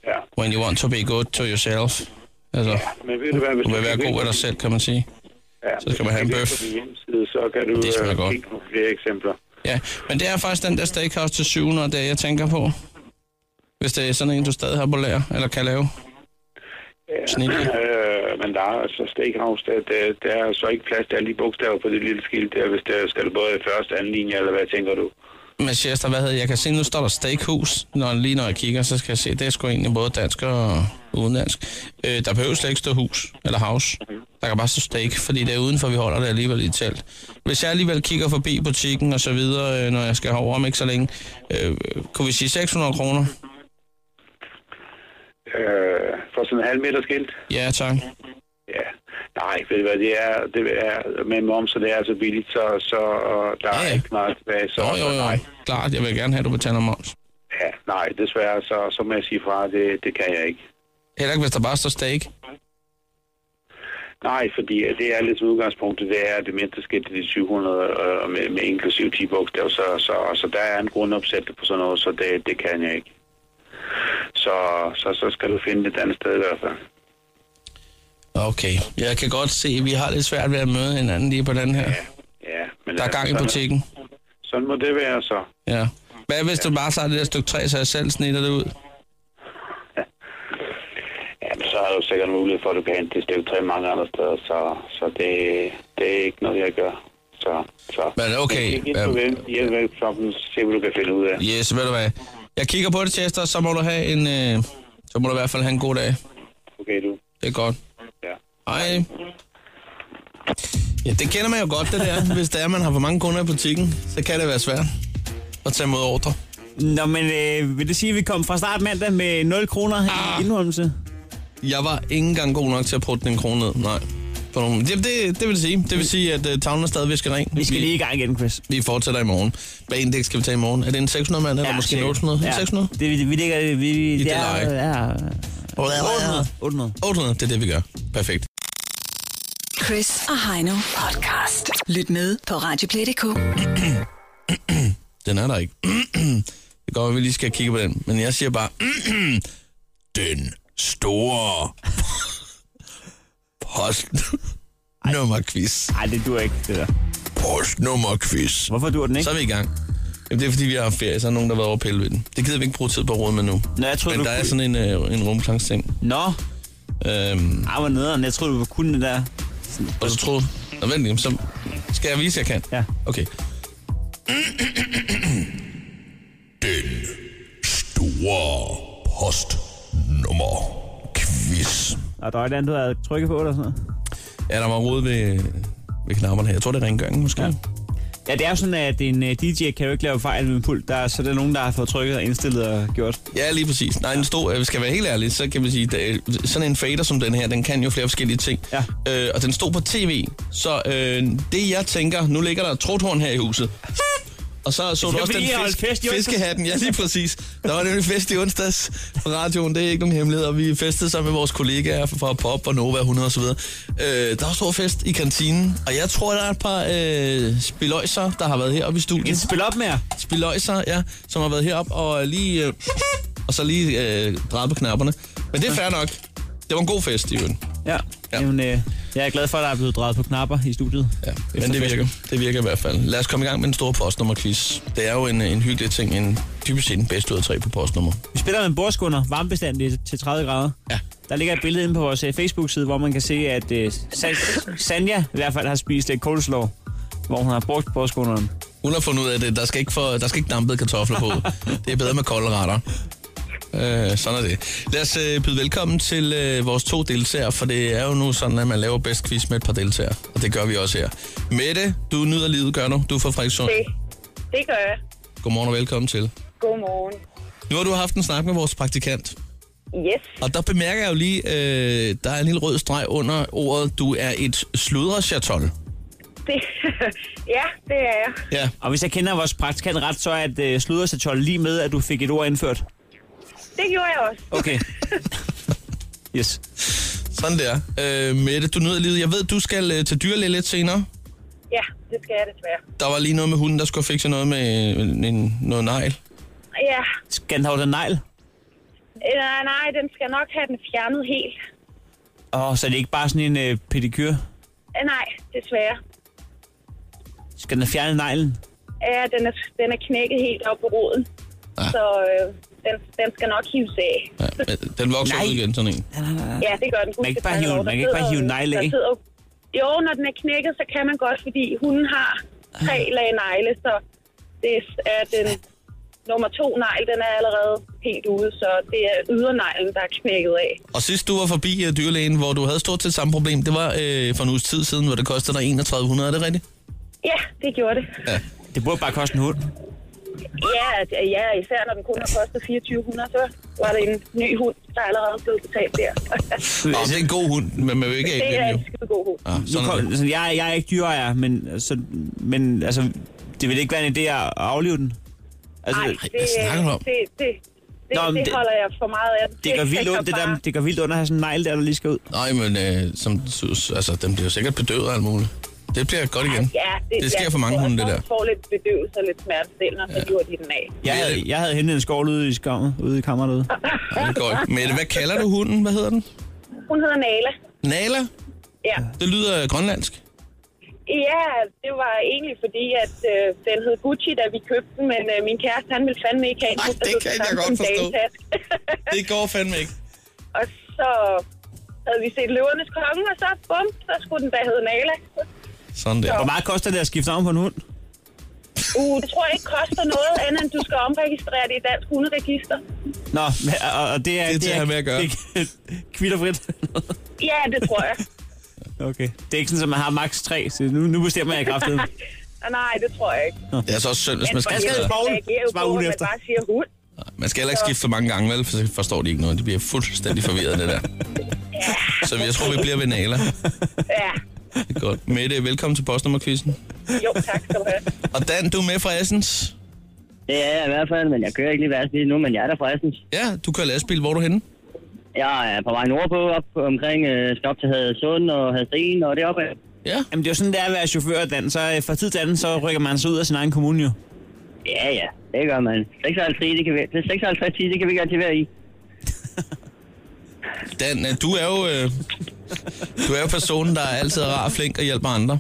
[SPEAKER 7] Ja.
[SPEAKER 3] When you want to be good to yourself. Altså,
[SPEAKER 7] Men ved du hvad, hvis
[SPEAKER 3] du vil
[SPEAKER 7] kan
[SPEAKER 3] være
[SPEAKER 7] gå
[SPEAKER 3] god
[SPEAKER 7] ind
[SPEAKER 3] af dig
[SPEAKER 7] på-
[SPEAKER 3] selv, kan man sige.
[SPEAKER 7] Ja,
[SPEAKER 3] så skal
[SPEAKER 7] hvis
[SPEAKER 3] man have en
[SPEAKER 7] du kan
[SPEAKER 3] bøf.
[SPEAKER 7] gå på min hjemmeside, så kan du
[SPEAKER 3] Det smager
[SPEAKER 7] øh,
[SPEAKER 3] godt.
[SPEAKER 7] kigge på flere eksempler.
[SPEAKER 3] Ja, men det er faktisk den der steakhouse til 700, der jeg tænker på. Hvis det er sådan en, du stadig har på lager, eller kan lave.
[SPEAKER 7] Ja.
[SPEAKER 3] Snit.
[SPEAKER 7] Øh, men der er altså steakhouse, der, der, der er så ikke plads til alle de bogstaver på det lille skilt der, hvis der skal det både i første, anden linje, eller hvad tænker du?
[SPEAKER 3] Men Chester, hvad hedder, jeg kan se, nu står der steakhus. Når, lige når jeg kigger, så skal jeg se, det er sgu egentlig både dansk og udenlandsk. Øh, der behøver slet ikke stå hus eller house. Der kan bare stå steak, fordi det er udenfor, vi holder det alligevel i telt. Hvis jeg alligevel kigger forbi butikken og så videre, øh, når jeg skal herover om ikke så længe, øh, kunne vi sige 600 kroner?
[SPEAKER 7] Øh, for sådan en halv meter skilt?
[SPEAKER 3] Ja, tak.
[SPEAKER 7] Ja. Nå, Nej, ved du hvad, det er, det er med moms, så det er så billigt, så, så og der
[SPEAKER 3] Ja,
[SPEAKER 7] er
[SPEAKER 3] ja.
[SPEAKER 7] ikke meget tilbage. Så,
[SPEAKER 3] Nå, jo,
[SPEAKER 7] så
[SPEAKER 3] jo,
[SPEAKER 7] nej.
[SPEAKER 3] klart, jeg vil gerne have, at du betaler moms.
[SPEAKER 7] Ja, nej, desværre, så, så må jeg sige fra, det, det kan jeg ikke.
[SPEAKER 3] Heller ikke, hvis der bare står steak.
[SPEAKER 7] Nej, fordi at det er lidt som udgangspunktet, det er, at det mindste skal til de 700 øh, med, med inklusiv 10 bogstav, så, så, så der er en grundopsætning på sådan noget, så det, det kan jeg ikke. Så, så, så skal du finde et andet sted i hvert fald.
[SPEAKER 3] Okay, jeg kan godt se, at vi har lidt svært ved at møde hinanden lige på den her.
[SPEAKER 7] Ja, men
[SPEAKER 3] Der er
[SPEAKER 7] altså,
[SPEAKER 3] gang i
[SPEAKER 7] sådan-
[SPEAKER 3] butikken.
[SPEAKER 7] Sådan må det være så.
[SPEAKER 3] Ja. Hvad hvis du bare tager det der stykke træ, så jeg selv snitter det ud?
[SPEAKER 7] Jamen, så har du sikkert mulighed for, at du kan hente det stykke træ mange andre steder, så, så det, det er ikke noget, jeg gør. Så, så.
[SPEAKER 3] Men okay,
[SPEAKER 7] Det er ikke
[SPEAKER 3] øhm,
[SPEAKER 7] et problem. Jeg vil sammen se, hvad du kan finde ud af.
[SPEAKER 3] Yes, ved du hvad? Jeg kigger på det, Chester, så må du have en... Øh, så må du i hvert fald have en god dag.
[SPEAKER 7] Okay, du.
[SPEAKER 3] Det er godt.
[SPEAKER 7] Ja.
[SPEAKER 3] Hej. Ja, det kender man jo godt, det der. Hvis det er, man har for mange kunder i butikken, så kan det være svært at tage imod ordre.
[SPEAKER 4] Nå, men øh, vil det sige, at vi kom fra start mandag med 0 kroner ah. i indrømmelse?
[SPEAKER 3] Jeg var ikke engang god nok til at prutte den krone ned. Nej. På nogen. Det, det, det vil sige. Det vil sige, at uh, tavlen er stadigvis skal ren.
[SPEAKER 4] Vi skal lige i gang igen, Chris.
[SPEAKER 3] Vi, vi fortsætter i morgen. Hvad indeks skal vi tage i morgen? Er det en 600 mand, eller ja, måske en
[SPEAKER 4] sikkert.
[SPEAKER 3] 800? Ja. 600?
[SPEAKER 4] Det, vi, vi ligger... Vi, I
[SPEAKER 3] det leje.
[SPEAKER 4] Ja, 800. 800.
[SPEAKER 3] 800, det er det, vi gør. Perfekt.
[SPEAKER 2] Chris og Heino podcast. Lyt med på Radioplay.dk.
[SPEAKER 3] Den er der ikke. det går, at vi lige skal kigge på den. Men jeg siger bare, den store postnummerquiz.
[SPEAKER 4] Ej, det dur ikke, det der.
[SPEAKER 3] Postnummerquiz.
[SPEAKER 4] Hvorfor dur den ikke?
[SPEAKER 3] Så er vi i gang. Jamen, det er fordi, vi har haft ferie, så er der nogen, der har været over at pille ved den. Det gider vi ikke bruge tid på at råde med nu.
[SPEAKER 4] Nå, jeg troede,
[SPEAKER 3] Men
[SPEAKER 4] du
[SPEAKER 3] der er
[SPEAKER 4] kunne-
[SPEAKER 3] sådan en, øh, en rumklangsting.
[SPEAKER 4] Nå,
[SPEAKER 3] Øhm,
[SPEAKER 4] ej, hvor nederen. Jeg troede, du var kun det der.
[SPEAKER 3] og så troede... Nå, vent lige, så skal jeg vise, at jeg kan.
[SPEAKER 4] Ja.
[SPEAKER 3] Okay. Den store postnummer quiz.
[SPEAKER 4] Og der var et eller andet, du havde trykket på, eller sådan noget.
[SPEAKER 3] Ja, der var rod ved, ved knapperne her. Jeg tror, det er rengøringen, måske. Ja.
[SPEAKER 4] Ja, det er jo sådan, at en øh, DJ kan jo ikke lave fejl med en pult. Der, er- så er der nogen, der har fået trykket og indstillet og gjort.
[SPEAKER 3] Ja, lige præcis. Nej, den stod, øh, skal jeg være helt ærlig, så kan vi sige, at sådan en fader som den her, den kan jo flere forskellige ting.
[SPEAKER 4] Ja.
[SPEAKER 3] Øh, og den stod på tv, så øh, det jeg tænker, nu ligger der et trothorn her i huset. Og så så du
[SPEAKER 4] Jeg
[SPEAKER 3] også
[SPEAKER 4] vil
[SPEAKER 3] den
[SPEAKER 4] lige holde
[SPEAKER 3] fisk,
[SPEAKER 4] fest i onsdags.
[SPEAKER 3] fiskehatten, ja lige præcis. Der var nemlig fest i onsdags på radioen, det er ikke nogen hemmelighed, og vi festede sammen med vores kollegaer fra Pop og Nova 100 osv. Øh, der var stor fest i kantinen, og jeg tror, der er et par øh, spiløjser, der har været heroppe i
[SPEAKER 4] En
[SPEAKER 3] studiet.
[SPEAKER 4] spil op med jer.
[SPEAKER 3] Spiløjser, ja, som har været herop og lige... Øh, og så lige øh, drejet på knapperne. Men det er fair nok. Det var en god fest, i øvrigt.
[SPEAKER 4] Ja.
[SPEAKER 3] Ja.
[SPEAKER 4] ja. Jamen, øh, jeg er glad for, at der er blevet drejet på knapper i studiet.
[SPEAKER 3] Ja, men det virker. Det virker i hvert fald. Lad os komme i gang med den store postnummerquiz. Det er jo en, en hyggelig ting, en typisk set en bedst ud af tre på postnummer.
[SPEAKER 4] Vi spiller med en bordskunder, varmebestandig til 30 grader.
[SPEAKER 3] Ja.
[SPEAKER 4] Der ligger et billede inde på vores øh, Facebook-side, hvor man kan se, at øh, San- Sanja i hvert fald har spist et coleslaw, hvor hun har brugt borskunderen.
[SPEAKER 3] Hun har fundet ud af det. Der skal ikke, for, der skal ikke dampede kartofler på. Det er bedre med kolde retter. Øh, sådan er det. Lad os øh, byde velkommen til øh, vores to deltagere, for det er jo nu sådan, at man laver bedst quiz med et par deltagere. Og det gør vi også her. Mette, du nyder livet, gør du. Du er fra Frederikssund.
[SPEAKER 8] Det, det gør jeg.
[SPEAKER 3] Godmorgen og velkommen til.
[SPEAKER 8] Godmorgen.
[SPEAKER 3] Nu har du haft en snak med vores praktikant,
[SPEAKER 8] Yes,
[SPEAKER 3] og der bemærker jeg jo lige, øh, der er en lille rød streg under ordet, du er et sludrechatol.
[SPEAKER 8] det, ja, det er jeg.
[SPEAKER 3] Ja,
[SPEAKER 4] Og hvis jeg kender vores praktikant ret, så er det øh, sluddersetol lige med, at du fik et ord indført.
[SPEAKER 8] Det gjorde jeg også.
[SPEAKER 4] Okay. yes.
[SPEAKER 3] sådan der. Øh, Mette, du nyder livet. Jeg ved, du skal øh, til dyrlæge lidt senere.
[SPEAKER 8] Ja, det skal jeg desværre.
[SPEAKER 3] Der var lige noget med hunden, der skulle fikse noget med øh, en, noget negl.
[SPEAKER 8] Ja,
[SPEAKER 4] Skal den have den negl?
[SPEAKER 8] øh, nej, nej, den skal nok have den fjernet helt.
[SPEAKER 4] Åh, oh, så er det ikke bare sådan en øh, pedikyr?
[SPEAKER 8] Øh, Nej, desværre.
[SPEAKER 4] Skal den have fjernet neglen?
[SPEAKER 8] Ja, den er, den er knækket helt op på roden.
[SPEAKER 3] Ah.
[SPEAKER 8] Så øh, den, den skal nok hives af.
[SPEAKER 3] Ja, men den vokser
[SPEAKER 4] Nej.
[SPEAKER 3] ud igen, sådan en.
[SPEAKER 8] Ja, det gør den.
[SPEAKER 4] Man kan ikke bare hive- man kan ikke bare hive negle af.
[SPEAKER 8] Sidder, jo, når den er knækket, så kan man godt, fordi hunden har tre
[SPEAKER 4] Ah.
[SPEAKER 8] lag negle, så det er den nummer to negl, den er allerede helt ude, så det er yderneglen, der er knækket af.
[SPEAKER 3] Og sidst du var forbi øh, dyrlægen, hvor du havde stort set samme problem, det var øh, for en uges tid siden, hvor det kostede dig 3100, er det rigtigt?
[SPEAKER 8] Ja, det gjorde det.
[SPEAKER 3] Ja.
[SPEAKER 4] Det burde bare koste en hund.
[SPEAKER 8] Ja, at- ja, især når den kun har kostet 2400, så var det en ny hund, der allerede blev betalt der.
[SPEAKER 3] Nå, men det er en god hund, men man vil ikke
[SPEAKER 8] det er
[SPEAKER 3] af den jo.
[SPEAKER 8] en
[SPEAKER 3] Ah.
[SPEAKER 8] skide god hund.
[SPEAKER 3] Ja,
[SPEAKER 4] Nu
[SPEAKER 3] sådan er
[SPEAKER 4] kom,
[SPEAKER 3] det.
[SPEAKER 4] altså, jeg, jeg er ikke dyreejer, men, så, men altså, det vil ikke være en idé at aflive den. Altså,
[SPEAKER 8] Nej,
[SPEAKER 4] Ej,
[SPEAKER 8] det,
[SPEAKER 3] hvad snakker du om?
[SPEAKER 8] det, det, det,
[SPEAKER 4] Nå,
[SPEAKER 8] Nå,
[SPEAKER 4] men
[SPEAKER 8] det,
[SPEAKER 4] det-
[SPEAKER 8] holder jeg for meget af.
[SPEAKER 4] det gør vildt ondt, det der, det gør vildt ondt at have sådan en negl der, der lige skal ud.
[SPEAKER 3] Nej, men øh, som, sus- altså, den bliver sikkert bedøvet og alt muligt. Det bliver godt igen.
[SPEAKER 8] Ja,
[SPEAKER 3] Det sker for mange
[SPEAKER 8] tror jeg,
[SPEAKER 3] hunde, det
[SPEAKER 8] så
[SPEAKER 3] der.
[SPEAKER 8] får lidt bedøvelse og lidt smertestillende, og så gjorde de den af.
[SPEAKER 4] Jeg havde, jeg havde hentet en skovl ude i skoven, ude i kammeret ude.
[SPEAKER 3] Ja, det går ikke. Mette, hvad kalder du hunden? Hvad hedder den?
[SPEAKER 8] Hun hedder Nala.
[SPEAKER 3] Nala?
[SPEAKER 8] Ja.
[SPEAKER 3] Det lyder grønlandsk.
[SPEAKER 8] ja, det var egentlig fordi, at øh, den hed Gucci, da vi købte den, men øh, min kæreste, han ville fandme ikke have en
[SPEAKER 3] Ej,
[SPEAKER 8] hund, der
[SPEAKER 3] det
[SPEAKER 8] hed
[SPEAKER 3] kan
[SPEAKER 8] det
[SPEAKER 3] jeg
[SPEAKER 8] samme
[SPEAKER 3] godt
[SPEAKER 8] som
[SPEAKER 3] forstå.
[SPEAKER 8] dametask.
[SPEAKER 3] Det går fandme ikke.
[SPEAKER 8] og så havde vi set Løvernes Konge, og så bum, så skulle den da hedde Nala.
[SPEAKER 3] Sådan der.
[SPEAKER 4] Hvor meget koster det at skifte navn på en hund?
[SPEAKER 8] Uh, det tror jeg ikke koster noget, andet end du skal omregistrere det i Dansk Hunderegister.
[SPEAKER 4] Nå, men- og, og det er...
[SPEAKER 3] Det er til at have med at gøre.
[SPEAKER 4] Det er kvitterfrit.
[SPEAKER 8] Ja, det tror jeg.
[SPEAKER 4] Okay. Det er ikke sådan, at man har maks 3, så nu, nu bestemmer jeg kraftedet.
[SPEAKER 8] Ah, Nej, det tror jeg ikke.
[SPEAKER 3] Det er så også synd, hvis man skal
[SPEAKER 4] skal
[SPEAKER 3] skifte.
[SPEAKER 4] sprogle.
[SPEAKER 8] reagerer jo
[SPEAKER 4] Svar
[SPEAKER 8] på,
[SPEAKER 4] ugen
[SPEAKER 8] at man
[SPEAKER 4] efter.
[SPEAKER 8] bare siger hund.
[SPEAKER 3] Man skal heller ikke skifte for mange gange, vel? For så forstår de ikke noget. De bliver fuldstændig forvirret, det der. Så jeg tror, vi bliver ved Nala.
[SPEAKER 8] Ja,
[SPEAKER 3] Det er godt. Mette, velkommen til postnummerquizzen.
[SPEAKER 8] jo tak skal du have.
[SPEAKER 3] Og Dan, du er med fra Assens.
[SPEAKER 9] Det er jeg i hvert fald, men jeg kører ikke lige værst lige nu, men jeg er der forresten.
[SPEAKER 3] Ja, du kører lastbil. Hvor er du henne?
[SPEAKER 9] Jeg er på vej nordpå op omkring øh, skal op til Hadsund og Hadsten og deroppe.
[SPEAKER 3] Ja.
[SPEAKER 4] Jamen, det er jo sådan, det er at være chauffør, Dan. Så øh, fra tid til anden, så rykker man sig ud af sin egen kommune, jo.
[SPEAKER 9] Ja, ja, det gør man. 56, det kan vi, det er 56 10, det kan vi godt være i.
[SPEAKER 3] Dan, øh, du er jo... Øh, du er jo personen, der er altid rar og flink og hjælper andre,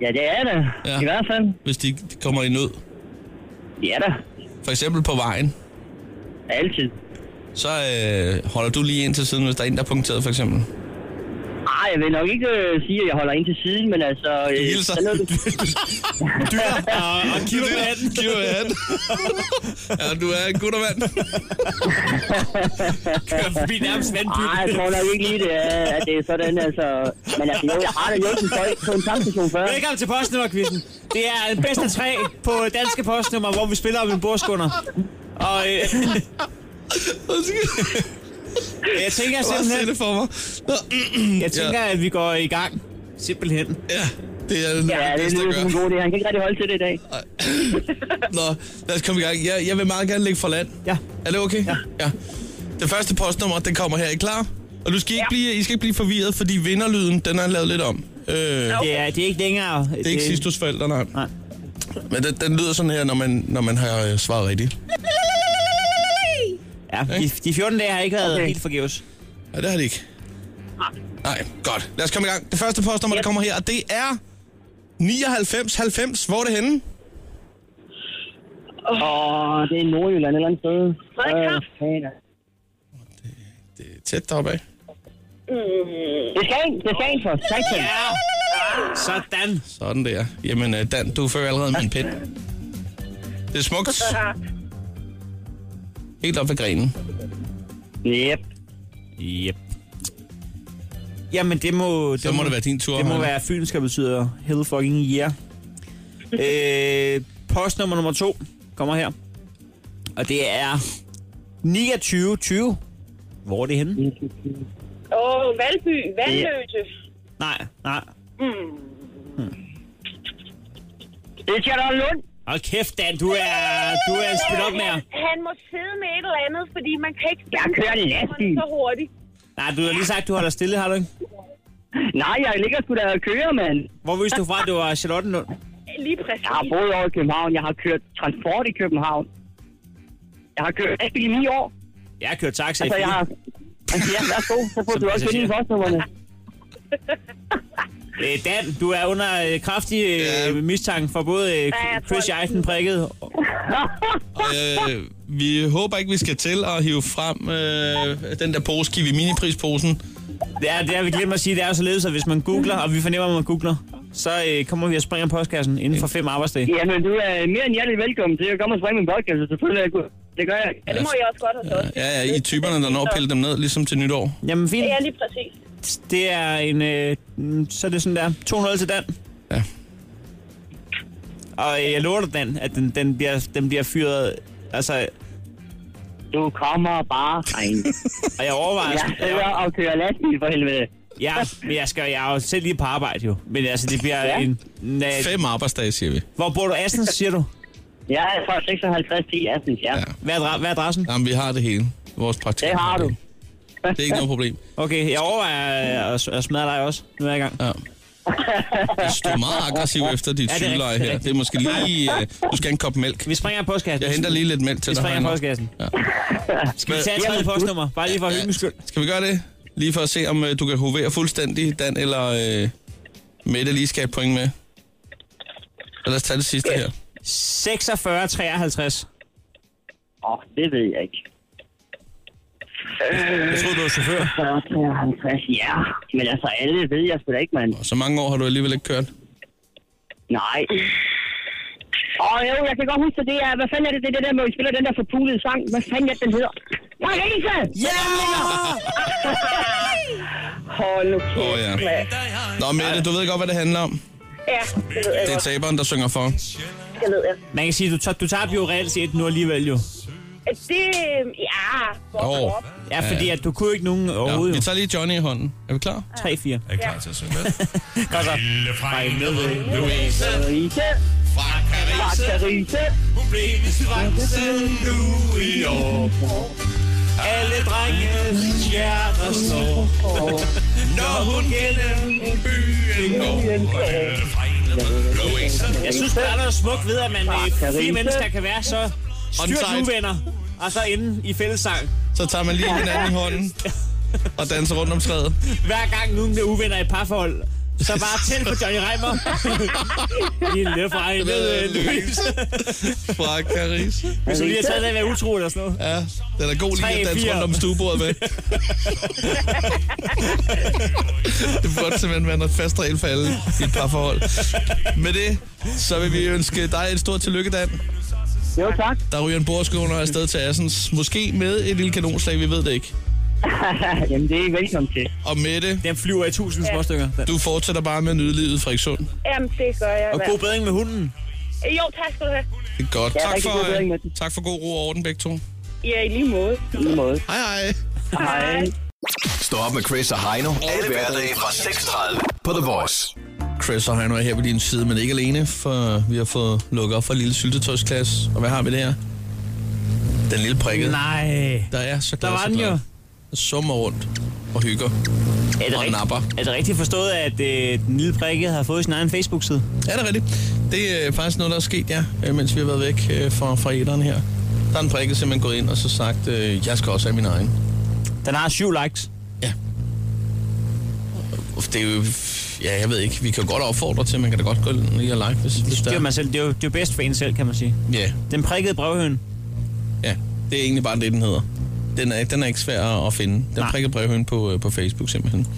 [SPEAKER 9] Ja, det er det.
[SPEAKER 3] Ja.
[SPEAKER 9] Ja. I hvert fald.
[SPEAKER 3] hvis de kommer i nød.
[SPEAKER 9] Ja da.
[SPEAKER 3] For eksempel på vejen.
[SPEAKER 9] Altid.
[SPEAKER 3] Så øh, holder du lige ind til siden, hvis der er en, der er punkteret, for eksempel.
[SPEAKER 9] Ej, Ah, jeg vil nok ikke øh, sige, at jeg holder ind til siden, men altså...
[SPEAKER 3] Du hilser.
[SPEAKER 9] sådan noget-
[SPEAKER 4] Og, og kigger med den.
[SPEAKER 3] Giv mig hand. ja, du er en guttermand.
[SPEAKER 4] Kører forbi nærmest
[SPEAKER 9] Ej, Ah, jeg
[SPEAKER 4] vandbyen.
[SPEAKER 9] tror nok ikke lige, det er, at det er sådan, altså... Men altså, jo, jeg har da hjulpet folk på en tankstation før.
[SPEAKER 4] Velkommen til postnummerquizzen. Det er den bedste tre på danske postnummer, hvor vi spiller om en bordskunder. Og øh, jeg tænker
[SPEAKER 3] Bare se det
[SPEAKER 4] simpelthen,
[SPEAKER 3] for mig. Nå,
[SPEAKER 4] jeg tænker, at vi går i gang. Simpelthen.
[SPEAKER 3] ja, det er det,
[SPEAKER 9] Ja, det
[SPEAKER 3] bedste,
[SPEAKER 9] lyder
[SPEAKER 3] jeg
[SPEAKER 9] som en
[SPEAKER 3] gør.
[SPEAKER 9] god idé. Han kan ikke rigtig holde til det i dag.
[SPEAKER 3] Nå, lad os komme i gang. Jeg, jeg vil meget gerne ligge for land.
[SPEAKER 4] Ja.
[SPEAKER 3] Er det okay? Ja. ja. Det første postnummer, den kommer her. Er I klar? Og du skal ikke, ja. blive, I skal ikke blive forvirret, fordi vinderlyden, den er lavet lidt om. Øh, det
[SPEAKER 4] Det er, det er ikke længere. Det
[SPEAKER 3] er ikke sidst hos forældre, nej.
[SPEAKER 4] Nej.
[SPEAKER 3] Men den, den lyder sådan her, når man, når man har øh, svaret rigtigt.
[SPEAKER 4] Ja, de, de 14 dage har ikke været okay.
[SPEAKER 9] Okay.
[SPEAKER 4] helt forgæves.
[SPEAKER 3] Ja, det har det ikke. Nej, godt. Lad os komme i gang. Det første postnummer, der kommer her, og det er 9990. Hvor er det henne?
[SPEAKER 9] Åh, det er i Nordjylland et eller andet sted. Øh,
[SPEAKER 8] Frederikshavn.
[SPEAKER 9] fan, altså.
[SPEAKER 3] Det er tæt deroppe af.
[SPEAKER 9] Det skal en, det skal en for. Tak til.
[SPEAKER 4] Ja. Sådan.
[SPEAKER 3] Sådan der. Jamen, øh, Dan, du fører allerede min pind. Det er smukt. Helt op ved grenen.
[SPEAKER 9] Yep.
[SPEAKER 4] Yep. Jamen, det må... Det
[SPEAKER 3] Så må det være din tur.
[SPEAKER 4] Det må
[SPEAKER 3] Heino.
[SPEAKER 4] være fynsk, der betyder hell fucking yeah. øh, postnummer nummer to kommer her. Og det er 2920. Hvor er det henne?
[SPEAKER 8] Åh, Valby, Mm. Vandløse.
[SPEAKER 4] Nej, nej.
[SPEAKER 9] Det skal der Lund.
[SPEAKER 4] Hold kæft, Dan, du er, du er spillet op med her.
[SPEAKER 8] Han, han må sidde med et eller andet, fordi man kan ikke
[SPEAKER 9] Jeg kører en lastbil.
[SPEAKER 8] så hurtigt.
[SPEAKER 4] Nej, du har lige sagt, du holder stille, har du ikke?
[SPEAKER 9] Nej, jeg ligger sgu da og kører, mand.
[SPEAKER 4] Hvor vidste du fra, at det var Charlottenlund?
[SPEAKER 8] Lige
[SPEAKER 9] Jeg har
[SPEAKER 8] præcis.
[SPEAKER 9] boet over i København. Jeg har kørt transport i København. Jeg har kørt lastbil i ni år.
[SPEAKER 4] Jeg har kørt taxa i
[SPEAKER 9] Altså, jeg har...
[SPEAKER 4] fire.
[SPEAKER 9] Altså, ja, værsgo. Så får
[SPEAKER 4] Som
[SPEAKER 9] du også
[SPEAKER 4] passager.
[SPEAKER 9] finde i postnummerne.
[SPEAKER 4] Øh, Dan, du er under øh, kraftig
[SPEAKER 3] Ja.
[SPEAKER 4] øh, mistanke for både øh,
[SPEAKER 8] jeg tror,
[SPEAKER 4] Chris
[SPEAKER 8] det-
[SPEAKER 4] Eisen prikket.
[SPEAKER 3] Øh, vi håber ikke, vi skal til at hive frem øh, den der pose, Kiwi Miniprisposen.
[SPEAKER 4] Det er, det er, vi glemmer at sige, det er jo således, at hvis man googler, og vi fornemmer, at man googler, så øh, kommer vi og springer postkassen inden for fem arbejdsdage.
[SPEAKER 9] Jamen, du er mere end hjertelig velkommen til at komme og springe min podcast. så Selvfølgelig er jeg god. Det gør jeg.
[SPEAKER 8] Ja, det må jeg også godt have sagt.
[SPEAKER 3] Ja, ja, I er typerne, der når at pille dem ned, ligesom til nytår.
[SPEAKER 4] Jamen fint,
[SPEAKER 8] Ja, lige præcis.
[SPEAKER 4] det er en, øh, mm, så er det sådan der, 2-0 til Dan.
[SPEAKER 3] Ja.
[SPEAKER 4] Og øh, jeg lover dig, Dan, at den, den, bliver, den bliver fyret... Altså,
[SPEAKER 9] Du kommer bare, dreng.
[SPEAKER 4] og jeg overvejer...
[SPEAKER 9] Jeg sidder og kører lastbil for helvede.
[SPEAKER 4] Ja, men jeg, skal, jeg er jo selv lige på arbejde jo. Men altså, det bliver ja.
[SPEAKER 9] Ja.
[SPEAKER 4] en... en øh,
[SPEAKER 3] Fem arbejdsdage, siger vi.
[SPEAKER 4] hvor bor du? Assens, siger du?
[SPEAKER 9] Jeg er fra 56 10 Assens, ja.
[SPEAKER 3] Ja.
[SPEAKER 4] Hvad er, adre- hvad er adressen?
[SPEAKER 3] Jamen, vi har det hele. Vores praktik.
[SPEAKER 9] Det har du.
[SPEAKER 3] Det er ikke noget problem.
[SPEAKER 4] Okay, jeg overvejer øh, at, at smadre dig også. Nu er jeg i gang.
[SPEAKER 3] Ja. Du stod meget aggressiv efter dit
[SPEAKER 4] Ja, det er
[SPEAKER 3] sygeleje
[SPEAKER 4] rigtigt, det er
[SPEAKER 3] her. Det er måske lige... Øh, du skal have en kop mælk.
[SPEAKER 4] Vi springer postkassen.
[SPEAKER 3] Jeg henter lige lidt mælk til
[SPEAKER 4] Vi
[SPEAKER 3] dig.
[SPEAKER 4] springer
[SPEAKER 3] Heino.
[SPEAKER 4] postkassen.
[SPEAKER 3] Ja.
[SPEAKER 4] Skal vi tage et tredje postnummer? Bare lige for ja. hyggens skyld.
[SPEAKER 3] Skal vi gøre det? Lige for at se, om øh, du kan hovere fuldstændig, Dan, eller øh, Mette lige skal have et point med. Så lad os tage det sidste her.
[SPEAKER 4] 46, 53.
[SPEAKER 9] Åh, oh, det ved jeg ikke.
[SPEAKER 4] Jeg troede, du var chauffør.
[SPEAKER 9] 40 53, ja. Men altså, alle ved jeg sgu da ikke, mand.
[SPEAKER 3] Og så mange år har du alligevel ikke kørt.
[SPEAKER 9] Nej. Åh, oh, jo, jeg kan godt huske, det er... Hvad fanden er det, det, er det der med, at vi spiller den der forpulede sang? Hvad fanden er det, den hedder? Marisa!
[SPEAKER 4] Ja!
[SPEAKER 8] Hold nu
[SPEAKER 3] Åh
[SPEAKER 8] kæft,
[SPEAKER 3] oh, ja.
[SPEAKER 8] mand.
[SPEAKER 3] Nå, Mette, du ved godt, hvad det handler om.
[SPEAKER 8] Ja, det ved jeg
[SPEAKER 3] Det er
[SPEAKER 8] godt.
[SPEAKER 3] taberen, der synger for.
[SPEAKER 8] Det ved jeg.
[SPEAKER 4] Man kan sige, du, tager- du tager jo reelt set nu alligevel jo.
[SPEAKER 8] Det... øhm, Ja, fuck
[SPEAKER 3] Åh.
[SPEAKER 10] Oh.
[SPEAKER 8] op.
[SPEAKER 4] Ja, fordi at du kunne ikke nogen overhovedet
[SPEAKER 3] Ja, vi
[SPEAKER 4] jo.
[SPEAKER 3] tager lige Johnny i hånden. Er vi klar?
[SPEAKER 4] 3-4.
[SPEAKER 10] Er I klar til at synge med?
[SPEAKER 4] Godt så.
[SPEAKER 10] Lille Frank med Louise
[SPEAKER 9] Marisa!
[SPEAKER 10] fra Carise.
[SPEAKER 9] Marisa!
[SPEAKER 10] Hun blev distrance nu i år. Alle drengenes hjerter står, når hun gennem byen går. Lille Frank med Louise.
[SPEAKER 4] Jeg synes, det er noget smukt ved, at man med fire
[SPEAKER 9] Karise.
[SPEAKER 4] mennesker kan være så styrt
[SPEAKER 3] Onside.
[SPEAKER 4] uvenner. Og så inde i fællessang.
[SPEAKER 3] Så tager man lige hinanden i hånden og danser rundt om træet.
[SPEAKER 4] Hver gang nogen bliver uvenner i et parforhold, så bare tænd på Johnny Reimer. Lille Frank med Louise.
[SPEAKER 3] Fra Caris.
[SPEAKER 4] Hvis du lige har taget det at være utro eller sådan noget.
[SPEAKER 3] Ja, den er god lige at danse
[SPEAKER 4] 3-4.
[SPEAKER 3] rundt om stuebordet med. det burde simpelthen være noget fast regel for alle i et par forhold. Med det, så vil vi ønske dig et stort tillykke, Dan.
[SPEAKER 9] Jo, tak.
[SPEAKER 3] Der ryger en bordskåner afsted til Assens. Måske med et lille kanonslag, vi ved det ikke.
[SPEAKER 9] Jamen, det er I velkommen til.
[SPEAKER 3] Og Mette,
[SPEAKER 4] Den flyver i tusind små stykker.
[SPEAKER 3] du fortsætter bare med at nyde livet, Frederikssund.
[SPEAKER 8] Jamen, det gør jeg.
[SPEAKER 4] Og
[SPEAKER 8] mand.
[SPEAKER 4] god bedring med hunden.
[SPEAKER 8] Jo, tak skal du have.
[SPEAKER 3] Det er godt.
[SPEAKER 9] Ja,
[SPEAKER 3] Tak
[SPEAKER 9] rigtig
[SPEAKER 3] for,
[SPEAKER 9] god bedring,
[SPEAKER 3] øh,
[SPEAKER 9] Morten.
[SPEAKER 3] tak for god ro og orden, begge to.
[SPEAKER 8] Ja, i lige måde.
[SPEAKER 9] I lige måde.
[SPEAKER 3] Hej hej.
[SPEAKER 9] Hej.
[SPEAKER 5] Stå op med Chris og Heino. Alle hverdage fra 6.30 på The Voice.
[SPEAKER 3] Chris og Heino er her på din side, men ikke alene, for vi har fået lukket op for lille syltetøjsklasse. Og hvad har vi der? Den lille prikkede.
[SPEAKER 4] Nej.
[SPEAKER 3] Der er så glad,
[SPEAKER 4] Der var
[SPEAKER 3] så
[SPEAKER 4] den
[SPEAKER 3] glad.
[SPEAKER 4] jo.
[SPEAKER 3] Der Summer rundt og hygger
[SPEAKER 4] Er det,
[SPEAKER 3] og
[SPEAKER 4] rigtigt,
[SPEAKER 3] napper.
[SPEAKER 4] er det rigtigt forstået, at øh, den lille prikke har fået sin egen Facebook-side?
[SPEAKER 3] Er det rigtigt? Det er øh, faktisk noget, der er sket, ja, øh, mens vi har været væk øh, fra, fra æderen her. Der er en prikket simpelthen gået ind og så sagt, øh, jeg skal også have min egen.
[SPEAKER 4] Den har syv likes.
[SPEAKER 3] Uff, Det er jo, ja, jeg ved ikke, vi kan jo godt opfordre til, man kan da godt gå ind lige og like, hvis, hvis
[SPEAKER 4] Det
[SPEAKER 3] der
[SPEAKER 4] er, jo man selv, det, er jo, det er jo bedst for en selv, kan man sige.
[SPEAKER 3] Ja,
[SPEAKER 4] Den prikkede brevhøn.
[SPEAKER 3] ja, det er egentlig bare det, den hedder. Den er, den er ikke svær at- at finde. Den
[SPEAKER 4] Nej.
[SPEAKER 3] prikker brevhøen på, øh, på Facebook simpelthen.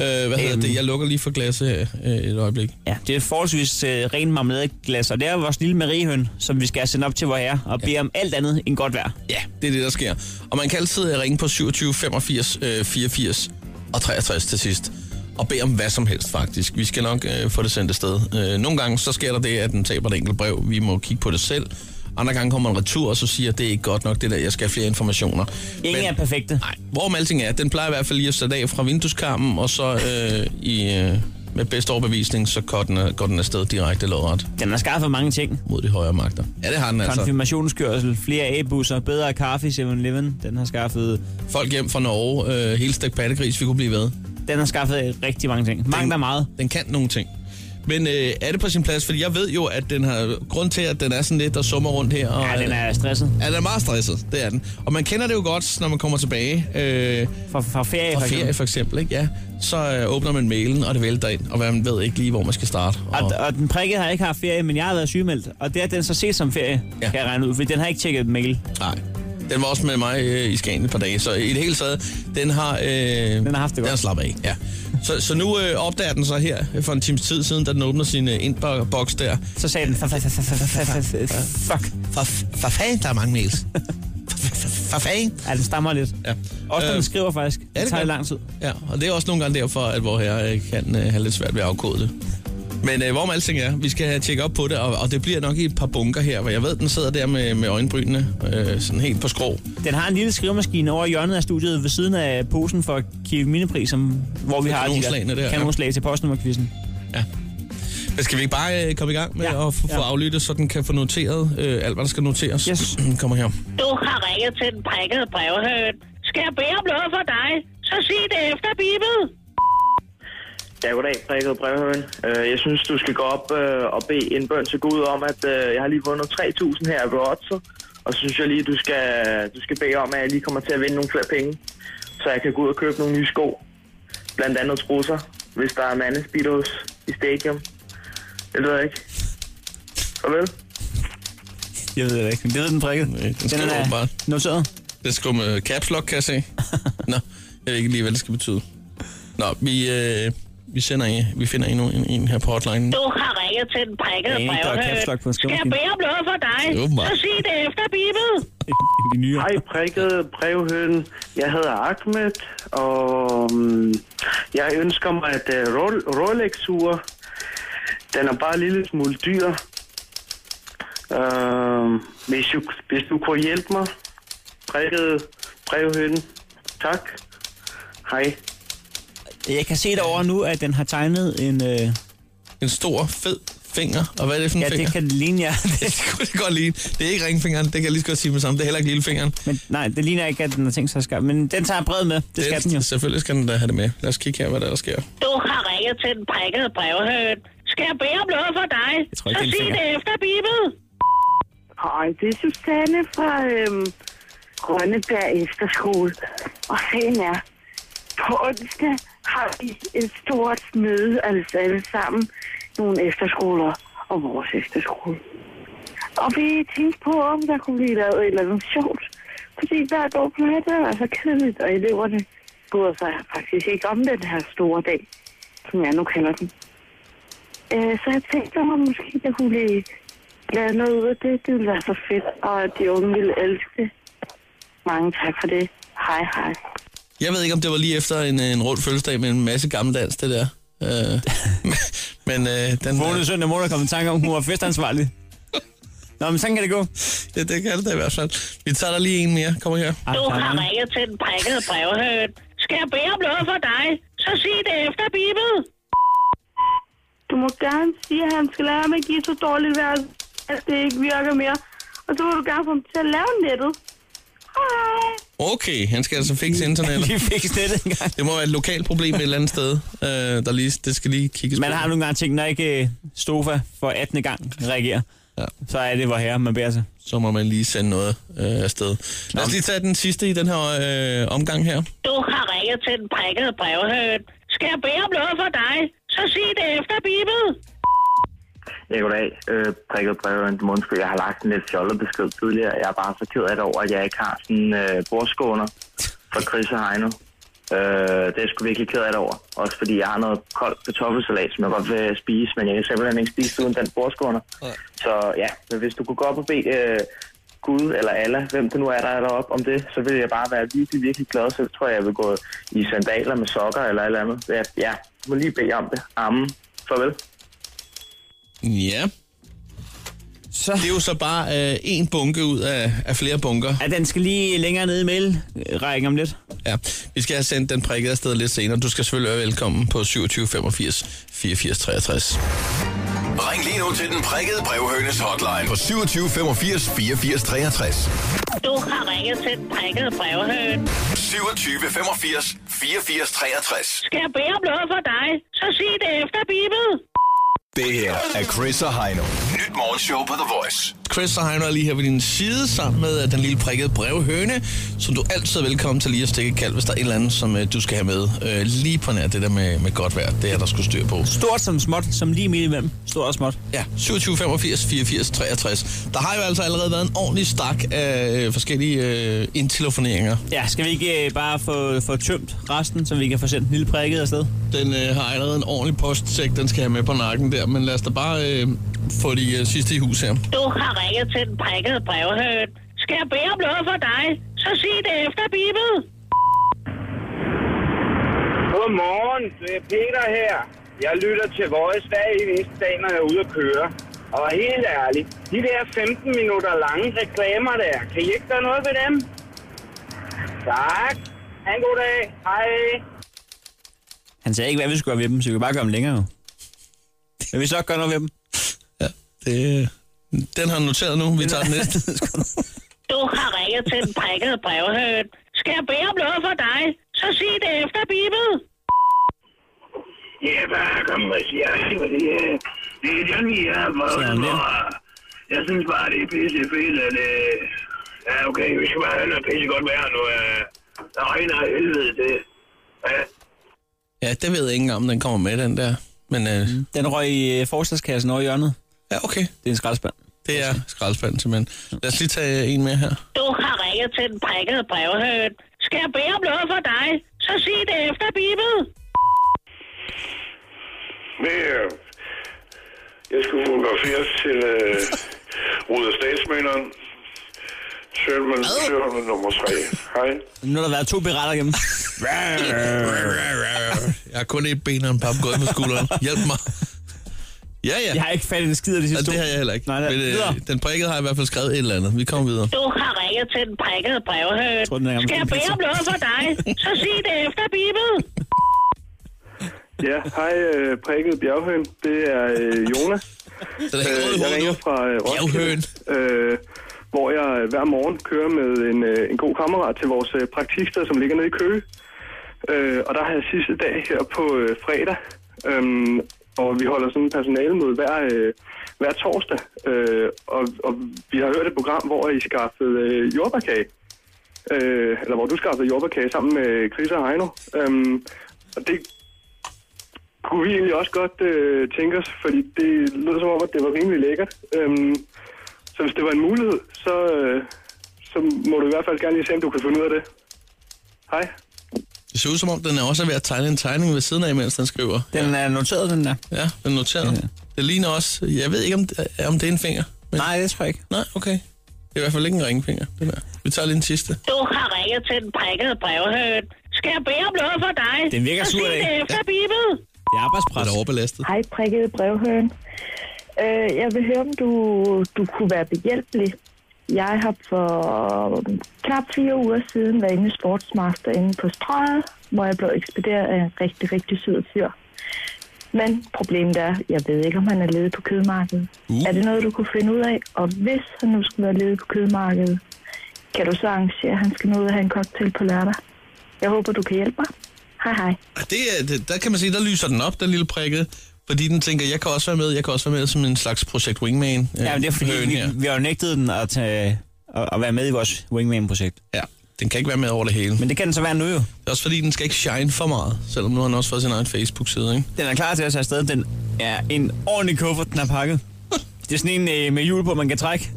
[SPEAKER 3] Øh, hvad hedder
[SPEAKER 4] Øhm.
[SPEAKER 3] det? Jeg lukker lige for glasset her øh, et øjeblik.
[SPEAKER 4] Ja, det er et forholdsvis øh, ren marmeladeglas, og det er vores lille mariehøn, som vi skal sende op til vor herre og bede om alt andet end godt vejr.
[SPEAKER 3] Ja, det er det, der sker. Og man kan altid ringe på 27 85 øh, 84 og 63 til sidst og bede om hvad som helst, faktisk. Vi skal nok øh, få det sendt afsted. Øh, nogle gange så sker der det, at den taber et enkelt brev. Vi må kigge på det selv. Andre gange kommer en retur, og så siger jeg, det er ikke godt nok det der, jeg skal have flere informationer.
[SPEAKER 4] Ingen
[SPEAKER 3] Men-
[SPEAKER 4] er perfekte.
[SPEAKER 3] Nej, hvorom alting er, den plejer i hvert fald lige at sætte af fra vindueskarmen, og så øh, i, øh, med bedste overbevisning, så går den, øh, går den afsted direkte lodret
[SPEAKER 4] Den har skaffet mange ting.
[SPEAKER 3] mod de højere magter. Ja, det har den altså.
[SPEAKER 4] Konfirmationskørsel, flere A-busser, bedre kaffe i 7-Eleven. Den har skaffet
[SPEAKER 3] Folk hjem fra Norge, øh, hele stik pattegris, vi kunne blive ved.
[SPEAKER 4] Den har skaffet rigtig mange ting. Mange der meget.
[SPEAKER 3] Den kan nogle ting. Men øh, er det på sin plads? Fordi jeg ved jo, at den har grund til, at den er sådan lidt og summer rundt her. Og, øh,
[SPEAKER 4] Ja, den er stresset.
[SPEAKER 3] Ja, den er meget stresset, det er den. Og man kender det jo godt, når man kommer tilbage øh,
[SPEAKER 4] Fra, fra ferie,
[SPEAKER 3] fra ferie
[SPEAKER 4] for eksempel.
[SPEAKER 3] for eksempel. Ikke? Ja, så øh, åbner man mailen, og det vælter ind, og man ved ikke lige, hvor man skal starte. Og,
[SPEAKER 4] Og, og den prikke har ikke haft ferie, men jeg har været sygemeldt. Og det har den så set som ferie,
[SPEAKER 3] Ja.
[SPEAKER 4] ja. kan jeg regne ud, for den har ikke tjekket mail.
[SPEAKER 3] nej, den var også med mig øh, i Skagen et par dage, så i det hele taget, den har... Øh, den
[SPEAKER 4] har haft det godt.
[SPEAKER 3] Den har slappet af, ja. Så, så nu øh, opdager den så her, øh, for en times tid siden, da den åbner sin øh, indbox der.
[SPEAKER 4] Så sagde den, "Fa- fa- fa- fa- fa- fa- fa- fa- fuck.
[SPEAKER 3] For, for fanden, der er mange mails. For, for, for fanden.
[SPEAKER 4] Ja, den stammer lidt.
[SPEAKER 3] Ja.
[SPEAKER 4] Også når
[SPEAKER 3] Øh,
[SPEAKER 4] den skriver faktisk. Det
[SPEAKER 3] det
[SPEAKER 4] tager
[SPEAKER 3] gør
[SPEAKER 4] lang tid.
[SPEAKER 3] ja, og det er også nogle gange derfor, at vor herre øh, kan øh, have lidt svært ved at afkode det. Men øh, hvorom alting er, vi skal tjekke op på det, og, og det bliver nok i et par bunker her, hvor jeg ved, den sidder der med, med øjenbrynene øh, sådan helt på skrå.
[SPEAKER 4] Den har en lille skrivemaskine over i hjørnet af studiet ved siden af posen for Kiwi Minepris, som, hvor vi har
[SPEAKER 3] Kanonslagene der, ja.
[SPEAKER 4] kanonslag til postnummerkvisten.
[SPEAKER 3] Men skal vi ikke bare øh, komme i gang med ja, at få ja. aflyttet, så den kan få noteret øh, alt, hvad der skal noteres? Yes. Kommer her.
[SPEAKER 11] Du har ringet til den prikkede brevhøn. Skal jeg bede om noget for dig? Så sig det efter, Bibel.
[SPEAKER 12] Ja, goddag, prikket brevhøen. Øh, jeg synes, du skal gå op øh, og bede en bøn til Gud om, at øh, jeg har lige vundet 3.000 her på Otto. Og så synes jeg lige, du skal, du skal bede om, at jeg lige kommer til at vinde nogle flere penge. Så jeg kan gå ud og købe nogle nye sko. Blandt andet trusser, hvis der er mandespidos i stadium. Det ved jeg ikke. Farvel.
[SPEAKER 4] Jeg ved det ikke, men det ved den prikket. Den,
[SPEAKER 3] skriver åbenbart.
[SPEAKER 4] noteret.
[SPEAKER 3] Den skriver med caps lock, kan jeg se. Nå, jeg ved ikke lige, hvad det skal betyde. Nå, vi, øh, vi, sender en, vi finder endnu en, en her på hotline.
[SPEAKER 11] Du har ringet til den prikkede
[SPEAKER 3] Der er en, der har caps lock på
[SPEAKER 11] brevhøn.
[SPEAKER 3] en
[SPEAKER 11] Skal jeg
[SPEAKER 3] skrivemaskine.
[SPEAKER 11] bede om noget for dig?
[SPEAKER 3] Det er åbenbart.
[SPEAKER 11] Så sig det efter, Bibel.
[SPEAKER 4] De nye.
[SPEAKER 12] Hej, prikket brevhøen. Jeg hedder Ahmed, og mm, jeg ønsker mig et øh, Ro- Rolex-ur. Den er bare en lille smule dyr. Øh, hvis, du, hvis du kunne hjælpe mig, prikket brevhøen. Tak. Hej.
[SPEAKER 4] Jeg kan se derovre nu, at den har tegnet en... Øh...
[SPEAKER 3] En stor, fed finger. Og hvad er det for en
[SPEAKER 4] ja,
[SPEAKER 3] finger?
[SPEAKER 4] det kan ligne, ja.
[SPEAKER 3] det kunne det godt ligne. Det er ikke ringfingeren, det kan jeg lige så godt sige med sammen. Det er heller ikke lillefingeren.
[SPEAKER 4] Men nej, det ligner ikke, at den har tænkt sig at skaffe. Men den tager bred med. Det skal den jo.
[SPEAKER 3] Selvfølgelig skal den da have det med. Lad os kigge her, hvad der, der sker.
[SPEAKER 11] Du har ringet til den prikkede brevhøn. Skal jeg bede om noget for dig?
[SPEAKER 3] tror ikke, det er en
[SPEAKER 11] Så sig
[SPEAKER 3] finger.
[SPEAKER 11] det efter, Bibel.
[SPEAKER 13] Hej, det er Susanne fra øhm, Grønneberg Efterskole. Og sagen er, på onsdag har vi et stort møde, altså alle sammen, nogle efterskoler og vores efterskole. Og vi tænkte på, om der kunne blive lavet et eller andet sjovt. Fordi hvert år plejer det at være så kedeligt, og eleverne bryder sig faktisk ikke om den her store dag, som jeg nu kalder den. Øh, så jeg tænkte, om måske der kunne blive lavet noget ud af det. Det ville være så fedt, og at de unge ville elske det. Mange tak for det. Hej, hej.
[SPEAKER 3] Jeg ved ikke, om det var lige efter en, øh, en rund fødselsdag med en masse gammeldans, det der. Øh, men øh, den...
[SPEAKER 4] Vågnede søndag morgen og kom i tanke om, at hun var festansvarlig. Nå, men sådan kan det gå.
[SPEAKER 3] Ja, det kan det da i hvert fald. Vi tager der lige en mere. Kommer her.
[SPEAKER 11] Du har ringet til den prikkede brevhøn. Skal jeg bede om noget for dig? Så sig det efter, Bibel.
[SPEAKER 14] Du må gerne sige, at han skal lade være med at give så dårligt vejr, at det ikke virker mere. Og så må du gerne få ham til at lave nettet. Hej.
[SPEAKER 3] Okay, han skal altså fikse internettet.
[SPEAKER 4] Lige fikse det engang.
[SPEAKER 3] Det må være et lokalt problem et eller andet sted. Øh, der lige, det skal lige kigges
[SPEAKER 4] Man
[SPEAKER 3] på.
[SPEAKER 4] har ah, nogle gange tænkt, når ikke øh, Stofa for 18. gang reagerer, ja. så er det, hvor herre man bærer sig.
[SPEAKER 3] Så må man lige sende noget øh, afsted. Lad os lige tage den sidste i den her øh, omgang her.
[SPEAKER 11] Du har ringet til den prikkede brevhøn. Skal jeg bede om noget for dig? Så sig det efter, Bibel.
[SPEAKER 12] Ja, goddag. Øh, prikket brevhøen. Du må undskylde, jeg har lagt en lidt fjollet besked tidligere. Jeg er bare så ked af det over, at jeg ikke har sådan en øh, bordskåner fra Chris og Heino. Øh, det er jeg sgu virkelig ked af det over. Også fordi jeg har noget koldt kartoffelsalat, som jeg godt vil øh, spise, men jeg kan simpelthen ikke spise det uden den bordskåner. Så ja, men hvis du kunne gå op og bede øh, Gud eller Allah, hvem det nu er, der er deroppe om det, så ville jeg bare være virkelig, virkelig glad. Så tror jeg, jeg vil gå i sandaler med sokker eller et eller andet. Ja, ja du må lige bede om det. Amen. Farvel.
[SPEAKER 3] Ja. Så. Det er jo så bare øh, en bunke ud af, af flere bunker.
[SPEAKER 4] Ja, den skal lige længere ned i mailrækken om lidt.
[SPEAKER 3] Ja, vi skal have sendt den prikket afsted lidt senere. Du skal selvfølgelig være velkommen på 27 85 84 63.
[SPEAKER 5] Ring lige nu til den prikkede brevhønes hotline på 27 85 84 63.
[SPEAKER 11] Du har ringet til den prikkede brevhøn.
[SPEAKER 5] 27 85 84 63.
[SPEAKER 11] Skal jeg bede om noget for dig? Så sig det efter, Bibel.
[SPEAKER 5] Det her er Chris og Heino. Nyt morgenshow på The Voice.
[SPEAKER 3] Chris og Heino er lige her ved din side, sammen med øh, den lille prikkede brevhøne, som du altid er velkommen til lige at stikke et kald, hvis der er et eller andet, som øh, du skal have med. Øh, lige på nær det der med, med godt vejr, det er der skulle styr på.
[SPEAKER 4] Stort som småt, som lige midt imellem. Stort og småt.
[SPEAKER 3] Ja, 27, 85, 84, 63. Der har jo altså allerede været en ordentlig stak af øh, forskellige øh, indtelefoneringer.
[SPEAKER 4] Ja, skal vi ikke øh, bare få, få tømt resten, så vi kan få sendt en lille prikket afsted?
[SPEAKER 3] Den øh, har allerede en ordentlig postsæk, den skal jeg have med på nakken der, men lad os da bare øh, få de øh, sidste i hus her.
[SPEAKER 11] Du har ringet til den prikkede brevhøn. Skal jeg bede om noget for dig? Så sig det efter, Bibel.
[SPEAKER 15] Godmorgen, det er Peter her.
[SPEAKER 7] Jeg lytter til Voice hver eneste dag, når jeg er ude at køre. Og helt ærligt, de der 15 minutter lange reklamer der, kan I ikke gøre noget ved dem? Tak. Ha' en god dag. Hej.
[SPEAKER 4] Han sagde ikke, hvad vi skulle gøre ved dem, så vi kan bare gøre dem længere jo. Men vi så gøre noget ved dem.
[SPEAKER 3] Ja, det, den har han noteret nu. Vi tager den næste.
[SPEAKER 11] Du har ringet til den prikkede brevhøn. Skal jeg bede om noget for dig? Så sig det efter, Bibel.
[SPEAKER 12] Ja, bare kom og sige, ej, hvor det er. Det er John, vi er fra Aalborg. Jeg synes bare, det er pisse fedt, at... Øh, ja, okay, vi skal bare have noget pisse godt vejr nu. Øh, der regner af helvede til. Ja,
[SPEAKER 3] Ja, det ved jeg ikke engang, om den kommer med, den der. Men, øh,
[SPEAKER 4] Den røg i øh, forsvarskassen over i hjørnet.
[SPEAKER 3] Ja, okay.
[SPEAKER 4] Det er en skraldespand.
[SPEAKER 3] Det er skraldespand, simpelthen. Lad os lige tage en mere her.
[SPEAKER 11] Du har ringet til den prikkede brevhøn. Skal jeg bede om noget for dig? Så sig det efter, Bibel.
[SPEAKER 12] Men, øh, jeg skulle fotograferes til øh, Rode Statsmøneren. Sjølmen, Sjølmen nummer 3. Hej.
[SPEAKER 4] Nu har der været to pirater igennem.
[SPEAKER 3] Jeg har kun et ben og en pap gået på skulderen. Hjælp mig. Ja, ja.
[SPEAKER 4] Jeg har ikke fattet en skid af de sidste
[SPEAKER 3] ja, det har jeg heller ikke. Nej, Men,
[SPEAKER 4] videre.
[SPEAKER 3] øh, den prikkede har i hvert fald skrevet et eller andet. Vi kommer videre.
[SPEAKER 11] Du har ringet til den prikkede brevhøn.
[SPEAKER 3] tror, den er gammel.
[SPEAKER 11] Skal jeg bede om noget for dig? Så sig det efter, Bibel.
[SPEAKER 16] Ja, hej, øh, prikket bjerghøn. Det er øh, Jonas. Øh, jeg ringer fra øh, Roskilde, øh, hvor jeg øh, hver morgen kører med en, øh, en god kammerat til vores øh, praktiksted, som ligger nede i Køge. Øh, og der har jeg sidste dag her på øh, fredag, øhm, og vi holder sådan en personalemøde hver, øh, hver torsdag. Øh, og, og vi har hørt et program, hvor I skaffede øh, jordbærkage. Øh, eller hvor du skaffede jordbærkage sammen med Chris og Heino. Øhm, og det kunne vi egentlig også godt øh, tænke os, fordi det lød som om, at det var rimelig lækkert. Øhm, så hvis det var en mulighed, så, øh, så må du i hvert fald gerne lige se, om du kan finde ud af det. Hej.
[SPEAKER 3] Det ser ud som om, den er også ved at tegne en tegning ved siden af, mens den skriver.
[SPEAKER 4] Den er noteret, den der.
[SPEAKER 3] Ja, den er noteret. Ja. Det ligner også... Jeg ved ikke, om det, om det er en finger. Men...
[SPEAKER 4] Nej, det tror jeg ikke.
[SPEAKER 3] Nej, okay. Det er i hvert fald ikke en ringfinger, det der. Vi tager lige en sidste.
[SPEAKER 11] Du har ringet til den prikkede brevhøn. Skal jeg bede om noget for dig?
[SPEAKER 3] Den virker
[SPEAKER 11] så
[SPEAKER 3] sur,
[SPEAKER 11] sig
[SPEAKER 3] ikke?
[SPEAKER 11] det efter, Bibel.
[SPEAKER 4] Det er arbejdspres.
[SPEAKER 3] Det er overbelastet.
[SPEAKER 17] Hej, prikkede brevhøen. Øh, jeg vil høre, om du, du kunne være behjælpelig. Jeg har for knap fire uger siden været inde i Sportsmaster inde på strøget, hvor jeg blev ekspederet af en rigtig, rigtig sød fyr. Men problemet er, jeg ved ikke, om han er ledet på kødmarkedet.
[SPEAKER 3] Uh.
[SPEAKER 17] Er det noget, du kunne finde ud af? Og hvis han nu skulle være ledet på kødmarkedet, kan du så arrangere, at han skal nå ud og have en cocktail på lørdag? Jeg håber, du kan hjælpe mig. Hej hej.
[SPEAKER 3] Ah, Det er, det, der kan man sige, der lyser den op, den lille prikkede. Fordi den tænker, jeg kan også være med, jeg kan også være med som en slags projekt wingman. øh,
[SPEAKER 4] Ja, men det er fordi,
[SPEAKER 3] høen
[SPEAKER 4] vi,
[SPEAKER 3] her.
[SPEAKER 4] vi har jo nægtet den at, tage, at, at være med i vores Wingman-projekt.
[SPEAKER 3] Ja, den kan ikke være med over det hele.
[SPEAKER 4] Men det kan den så være nu jo.
[SPEAKER 3] Det er også fordi, den skal ikke shine for meget, selvom nu har han også fået sin egen Facebook-side, ikke?
[SPEAKER 4] Den er klar til at tage afsted. Den er en ordentlig kuffert, den er pakket. Det er sådan en øh, med hjul på, man kan trække.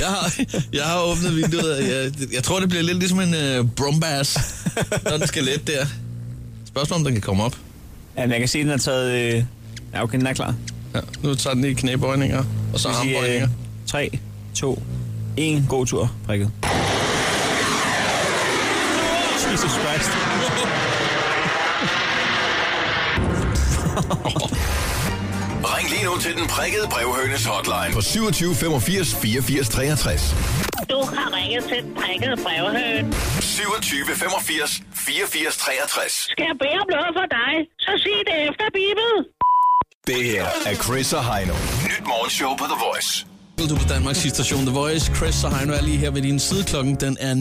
[SPEAKER 3] Jeg har, jeg har åbnet vinduet, og jeg, jeg tror, det bliver lidt ligesom en øh, brumbass, når den skal let der. Spørgsmålet, om den kan komme op.
[SPEAKER 4] Ja, men jeg kan se, den har taget... Øh... Ja, okay, den er klar.
[SPEAKER 3] Ja, nu tager den i knæbøjninger, og så
[SPEAKER 4] Det vil sige, øh,
[SPEAKER 3] armbøjninger.
[SPEAKER 4] 3, 2, 1. God tur, prikket. Jesus Christ.
[SPEAKER 5] Ring lige nu til den prikkede brevhønes hotline på 27 85 84 63.
[SPEAKER 11] Du har ringet til den prikkede Øh, brevhøn.
[SPEAKER 5] 27 85 84 63.
[SPEAKER 11] Skal jeg bede om noget for dig? Så sig det efter, Bibel.
[SPEAKER 5] Det her er Chris og Heino. Nyt morgenshow på The Voice.
[SPEAKER 3] Du er på Danmarks station The Voice. Chris og Heino er lige her ved din side. Klokken den er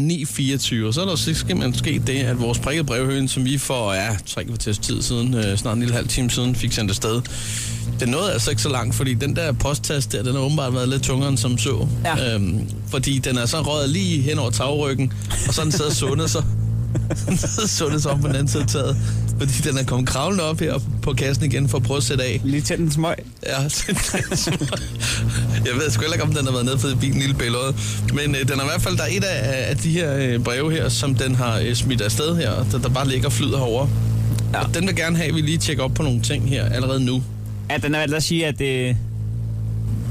[SPEAKER 3] 9.24. Og så er der jo så skal man ske det, at vores prikket brevhøen, som vi for ja, tre kvarters tid siden, øh, snart en lille halv time siden, fik sendt afsted. Den nåede altså ikke så langt, fordi den der posttast der, den har åbenbart været lidt tungere end som så. Ja. Øhm, fordi den er så røget lige hen over tagryggen, og så er den siddet og sundet sig. Den sidder og sundet sig om på den anden side af taget, fordi den er kommet kravlende op her på kassen igen for at prøve at sætte af.
[SPEAKER 4] Lige til den smøg.
[SPEAKER 3] Ja, til den smøg. Jeg ved sgu heller ikke, om den har været nede for bilen lille billede. Men øh, den er i hvert fald, der er et af, af de her øh, breve her, som den har øh, smidt afsted her, der, der bare ligger og flyder herovre. Ja. Og den vil gerne have, at vi lige tjekker op på nogle ting her allerede nu.
[SPEAKER 4] Ja, den er valgt at sige, at øh,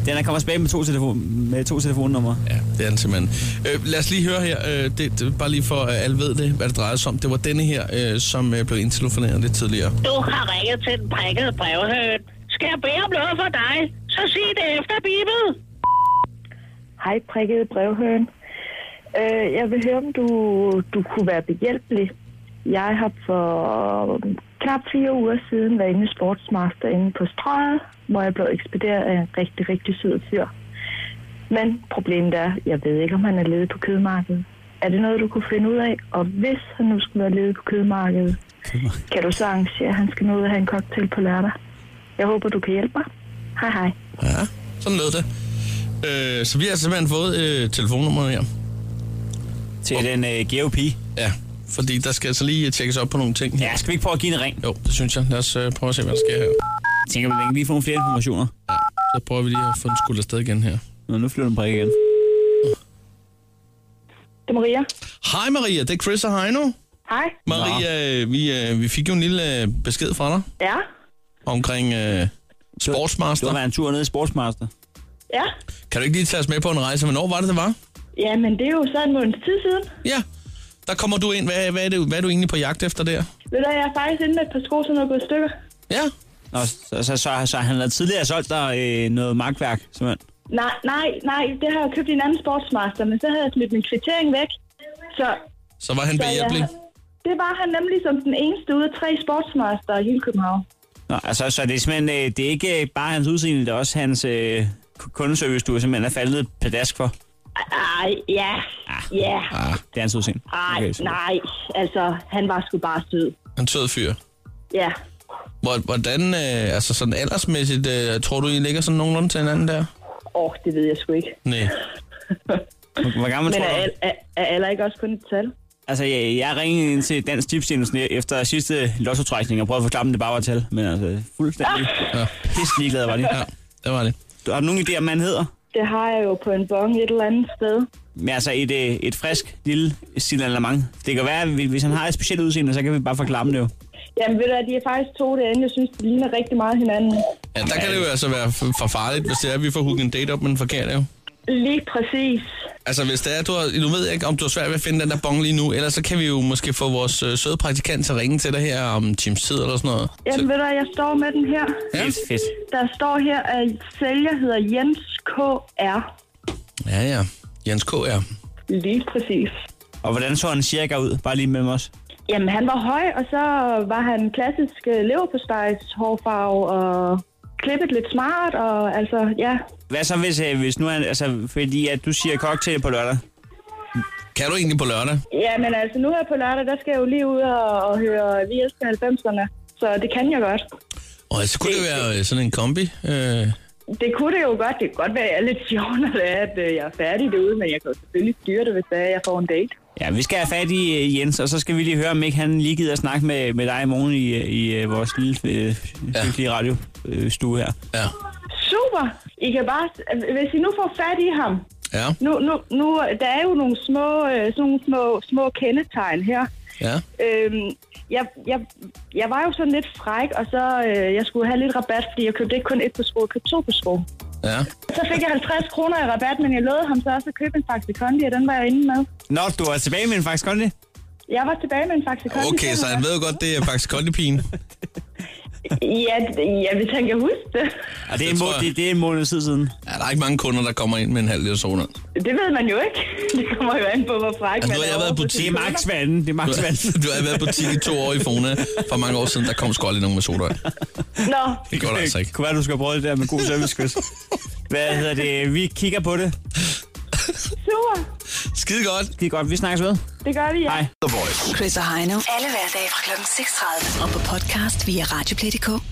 [SPEAKER 4] Den er kommet tilbage med to, telefon, med to telefonnumre.
[SPEAKER 3] Ja. Det er den simpelthen. Øh, lad os lige høre her, øh, det, det, bare lige for at alle ved det, hvad det drejede sig om. Det var denne her, øh, som øh, blev indtelefoneret lidt tidligere.
[SPEAKER 11] Du har ringet til den prikkede brevhøn. Skal jeg bede om noget for dig, så sig det efter, Bibel.
[SPEAKER 18] Hej, prikkede brevhøen. Øh, jeg vil høre, om du, du kunne være behjælpelig. Jeg har for knap fire uger siden været inde i Sportsmaster inde på strøget, hvor jeg blev ekspederet af en rigtig, rigtig sød fyr. Men problemet er, jeg ved ikke, om han er ledet på kødmarkedet. Er det noget, du kunne finde ud af? Og hvis han nu skulle være ledet på kødmarkedet, kan du så arrangere, at han skal nå ud og have en cocktail på lørdag? Jeg håber, du kan hjælpe mig. Hej hej.
[SPEAKER 3] Ja, sådan lød det. Øh, så vi har simpelthen fået øh, telefonnummeret her.
[SPEAKER 4] Til Hvor... den øh, GOP?
[SPEAKER 3] Ja, fordi der skal altså lige øh, tjekkes op på nogle ting. Ja,
[SPEAKER 4] skal vi ikke prøve at give en ring?
[SPEAKER 3] Jo, det synes jeg. Lad os øh, prøve at se, hvad der sker her.
[SPEAKER 4] Jeg tænker, vi kan lige få nogle flere informationer.
[SPEAKER 3] Ja, så prøver vi lige at få den skudt afsted igen her.
[SPEAKER 4] Nå, nu flytter den brik igen.
[SPEAKER 18] Det er Maria.
[SPEAKER 3] Hej Maria, det er Chris og Heino.
[SPEAKER 18] Hej.
[SPEAKER 3] Maria, øh, vi, øh, vi fik jo en lille øh, besked fra dig
[SPEAKER 18] Ja,
[SPEAKER 3] omkring øh, Sportsmaster.
[SPEAKER 4] Det var en tur ned i Sportsmaster.
[SPEAKER 18] ja.
[SPEAKER 3] Kan du ikke lige tage os med på en rejse? Hvornår var det, det var?
[SPEAKER 18] Ja, men det er jo så en måneds tid siden.
[SPEAKER 3] Ja. Der kommer du ind. Hvad, hvad, er, det, hvad er du egentlig på jagt efter der?
[SPEAKER 18] Ved du, hvad, jeg er faktisk inde med et par sko, som er gået i stykker.
[SPEAKER 3] Ja.
[SPEAKER 4] Nå, så, så, så, så han har tidligere solgt dig øh, noget magtværk, simpelthen.
[SPEAKER 18] Nej, nej, nej, det har jeg købt i en anden sportsmaster, men så havde jeg smidt min kvittering væk. Så,
[SPEAKER 3] Så var han
[SPEAKER 18] så
[SPEAKER 3] behjælpelig.
[SPEAKER 18] det var han nemlig som den eneste ude af tre sportsmaster i hele København.
[SPEAKER 4] Nå, altså, så det er simpelthen, øh, det er ikke øh, bare hans udseende, det er også hans øh, ku- kundeservice, du simpelthen er faldet pladask for.
[SPEAKER 18] Ej, ja, ja,
[SPEAKER 4] Ah. Det er hans udseende.
[SPEAKER 18] ej,
[SPEAKER 4] Okay, så-
[SPEAKER 18] nej, altså, han var sgu bare sød.
[SPEAKER 3] En sød fyr.
[SPEAKER 18] Ja,
[SPEAKER 3] Hvor- Hvordan, øh, altså sådan aldersmæssigt, øh, tror du, I ligger sådan nogenlunde til hinanden der?
[SPEAKER 18] åh, oh, det ved jeg sgu ikke.
[SPEAKER 3] Nej.
[SPEAKER 4] Hvor gammel
[SPEAKER 18] men
[SPEAKER 4] tror
[SPEAKER 18] er,
[SPEAKER 4] du?
[SPEAKER 18] al- er, er alder ikke også kun et tal?
[SPEAKER 4] Altså, jeg, jeg ringede ind til Dansk Tipstjeneste efter sidste lottotrækning og prøvede at forklare dem, det bare var et tal. Men altså, fuldstændig ja. pisse ligeglade var det. Ja,
[SPEAKER 3] Ah. det var det.
[SPEAKER 4] Du, har du nogen idé, om man hedder?
[SPEAKER 18] Det har jeg jo på en bong et eller andet sted.
[SPEAKER 4] Men altså, et, øh, et frisk lille signalement. Det kan være, at vi- hvis han har et specielt udseende, så kan vi bare forklare dem det jo.
[SPEAKER 18] Jamen ved du hvad, de er faktisk to derinde. Jeg synes, de ligner rigtig meget hinanden.
[SPEAKER 3] Ja, der kan det jo altså være f- for farligt, hvis det er, at vi får hugget en date op med en forkert, jo.
[SPEAKER 18] Lige præcis.
[SPEAKER 3] Altså, hvis det er, du har, nu ved jeg ikke, om du har svært ved at finde den der bong lige nu, ellers så kan vi jo måske få vores øh, søde praktikant til at ringe til dig her om en times tid eller sådan noget.
[SPEAKER 18] Jamen ved du hvad, jeg står med den her.
[SPEAKER 3] Ja. Fedt, fedt.
[SPEAKER 18] Der står her, at sælger hedder Jens K.R.
[SPEAKER 3] Ja, ja. Jens K. Ja.
[SPEAKER 18] Lige præcis.
[SPEAKER 4] Og hvordan så han cirka ud? Bare lige med mig også.
[SPEAKER 18] Jamen han var høj, og så var han klassisk øh, leverpostejs hårfarve og klippet lidt smart, og altså, ja.
[SPEAKER 4] Hvad så, hvis, øh, hvis nu han... Altså, fordi at du siger cocktail på lørdag.
[SPEAKER 3] Kan du egentlig på lørdag?
[SPEAKER 18] Ja, men altså nu her på lørdag, der skal jeg jo lige ud og, og høre Vi elsker 90'erne, så det kan jeg godt.
[SPEAKER 3] Og så kunne det være øh, sådan en kombi. Øh,
[SPEAKER 18] Det kunne det jo godt. Det kan godt være, at jeg er lidt sjov, når det er, at øh, jeg er færdig derude, men jeg kan jo selvfølgelig styre det, hvis det er, at jeg får en date.
[SPEAKER 4] Ja, vi skal have fat i øh, Jens, og så skal vi lige høre, om ikke han lige gider at snakke med, med dig i morgen i, øh, i øh, vores lille øh, hyggelige radiostue her.
[SPEAKER 3] Ja.
[SPEAKER 18] Super! I kan bare, øh, hvis I nu får fat i ham,
[SPEAKER 3] Ja.
[SPEAKER 18] nu, nu, nu der er jo nogle små, øh, sådan nogle små, små kendetegn her.
[SPEAKER 3] Ja.
[SPEAKER 18] Øhm, jeg, jeg, jeg var jo sådan lidt fræk, og så øh, jeg skulle have lidt rabat, fordi jeg købte ikke kun et på sko, jeg købte to på sko.
[SPEAKER 3] Ja.
[SPEAKER 18] Så fik jeg 50 kroner i rabat, men jeg lovede ham så også at købe en Faxe Kondi, og den var jeg inde med.
[SPEAKER 4] Nå, du er tilbage med en faktisk kondi.
[SPEAKER 18] Jeg var tilbage med en Faxe Kondi.
[SPEAKER 3] Okay, så han ved jo godt, det er faktisk kondipigen.
[SPEAKER 18] Ja, d- ja, hvis han kan huske det.
[SPEAKER 4] Og det er, en må, det, det er en måned tid siden.
[SPEAKER 3] Ja, der er ikke mange kunder, der kommer ind med en halv liter soda.
[SPEAKER 18] Det ved man jo ikke. Det kommer jo an på, hvor fræk
[SPEAKER 3] Ja, Altså, nu
[SPEAKER 18] man
[SPEAKER 3] har jeg
[SPEAKER 18] er.
[SPEAKER 3] været i butik.
[SPEAKER 4] Altså, Det er Max Vanden. Det er Max
[SPEAKER 3] Du,
[SPEAKER 4] Vanden.
[SPEAKER 3] du har været i butik i to år i Fona. For mange år siden, der kom sgu aldrig nogen med sodavand.
[SPEAKER 18] Nå,
[SPEAKER 3] Det gjorde der altså ikke.
[SPEAKER 4] Kunne være, du skal prøve det der med god service, Chris. Hvad hedder det? Vi kigger på det.
[SPEAKER 18] super.
[SPEAKER 3] Skide godt.
[SPEAKER 4] Skide godt. Vi snakkes ved.
[SPEAKER 18] Det gør vi, ja.
[SPEAKER 4] Hej.
[SPEAKER 2] Chris og Heino. Alle hverdage fra kl. 6.30. Og på podcast via Radioplay.dk.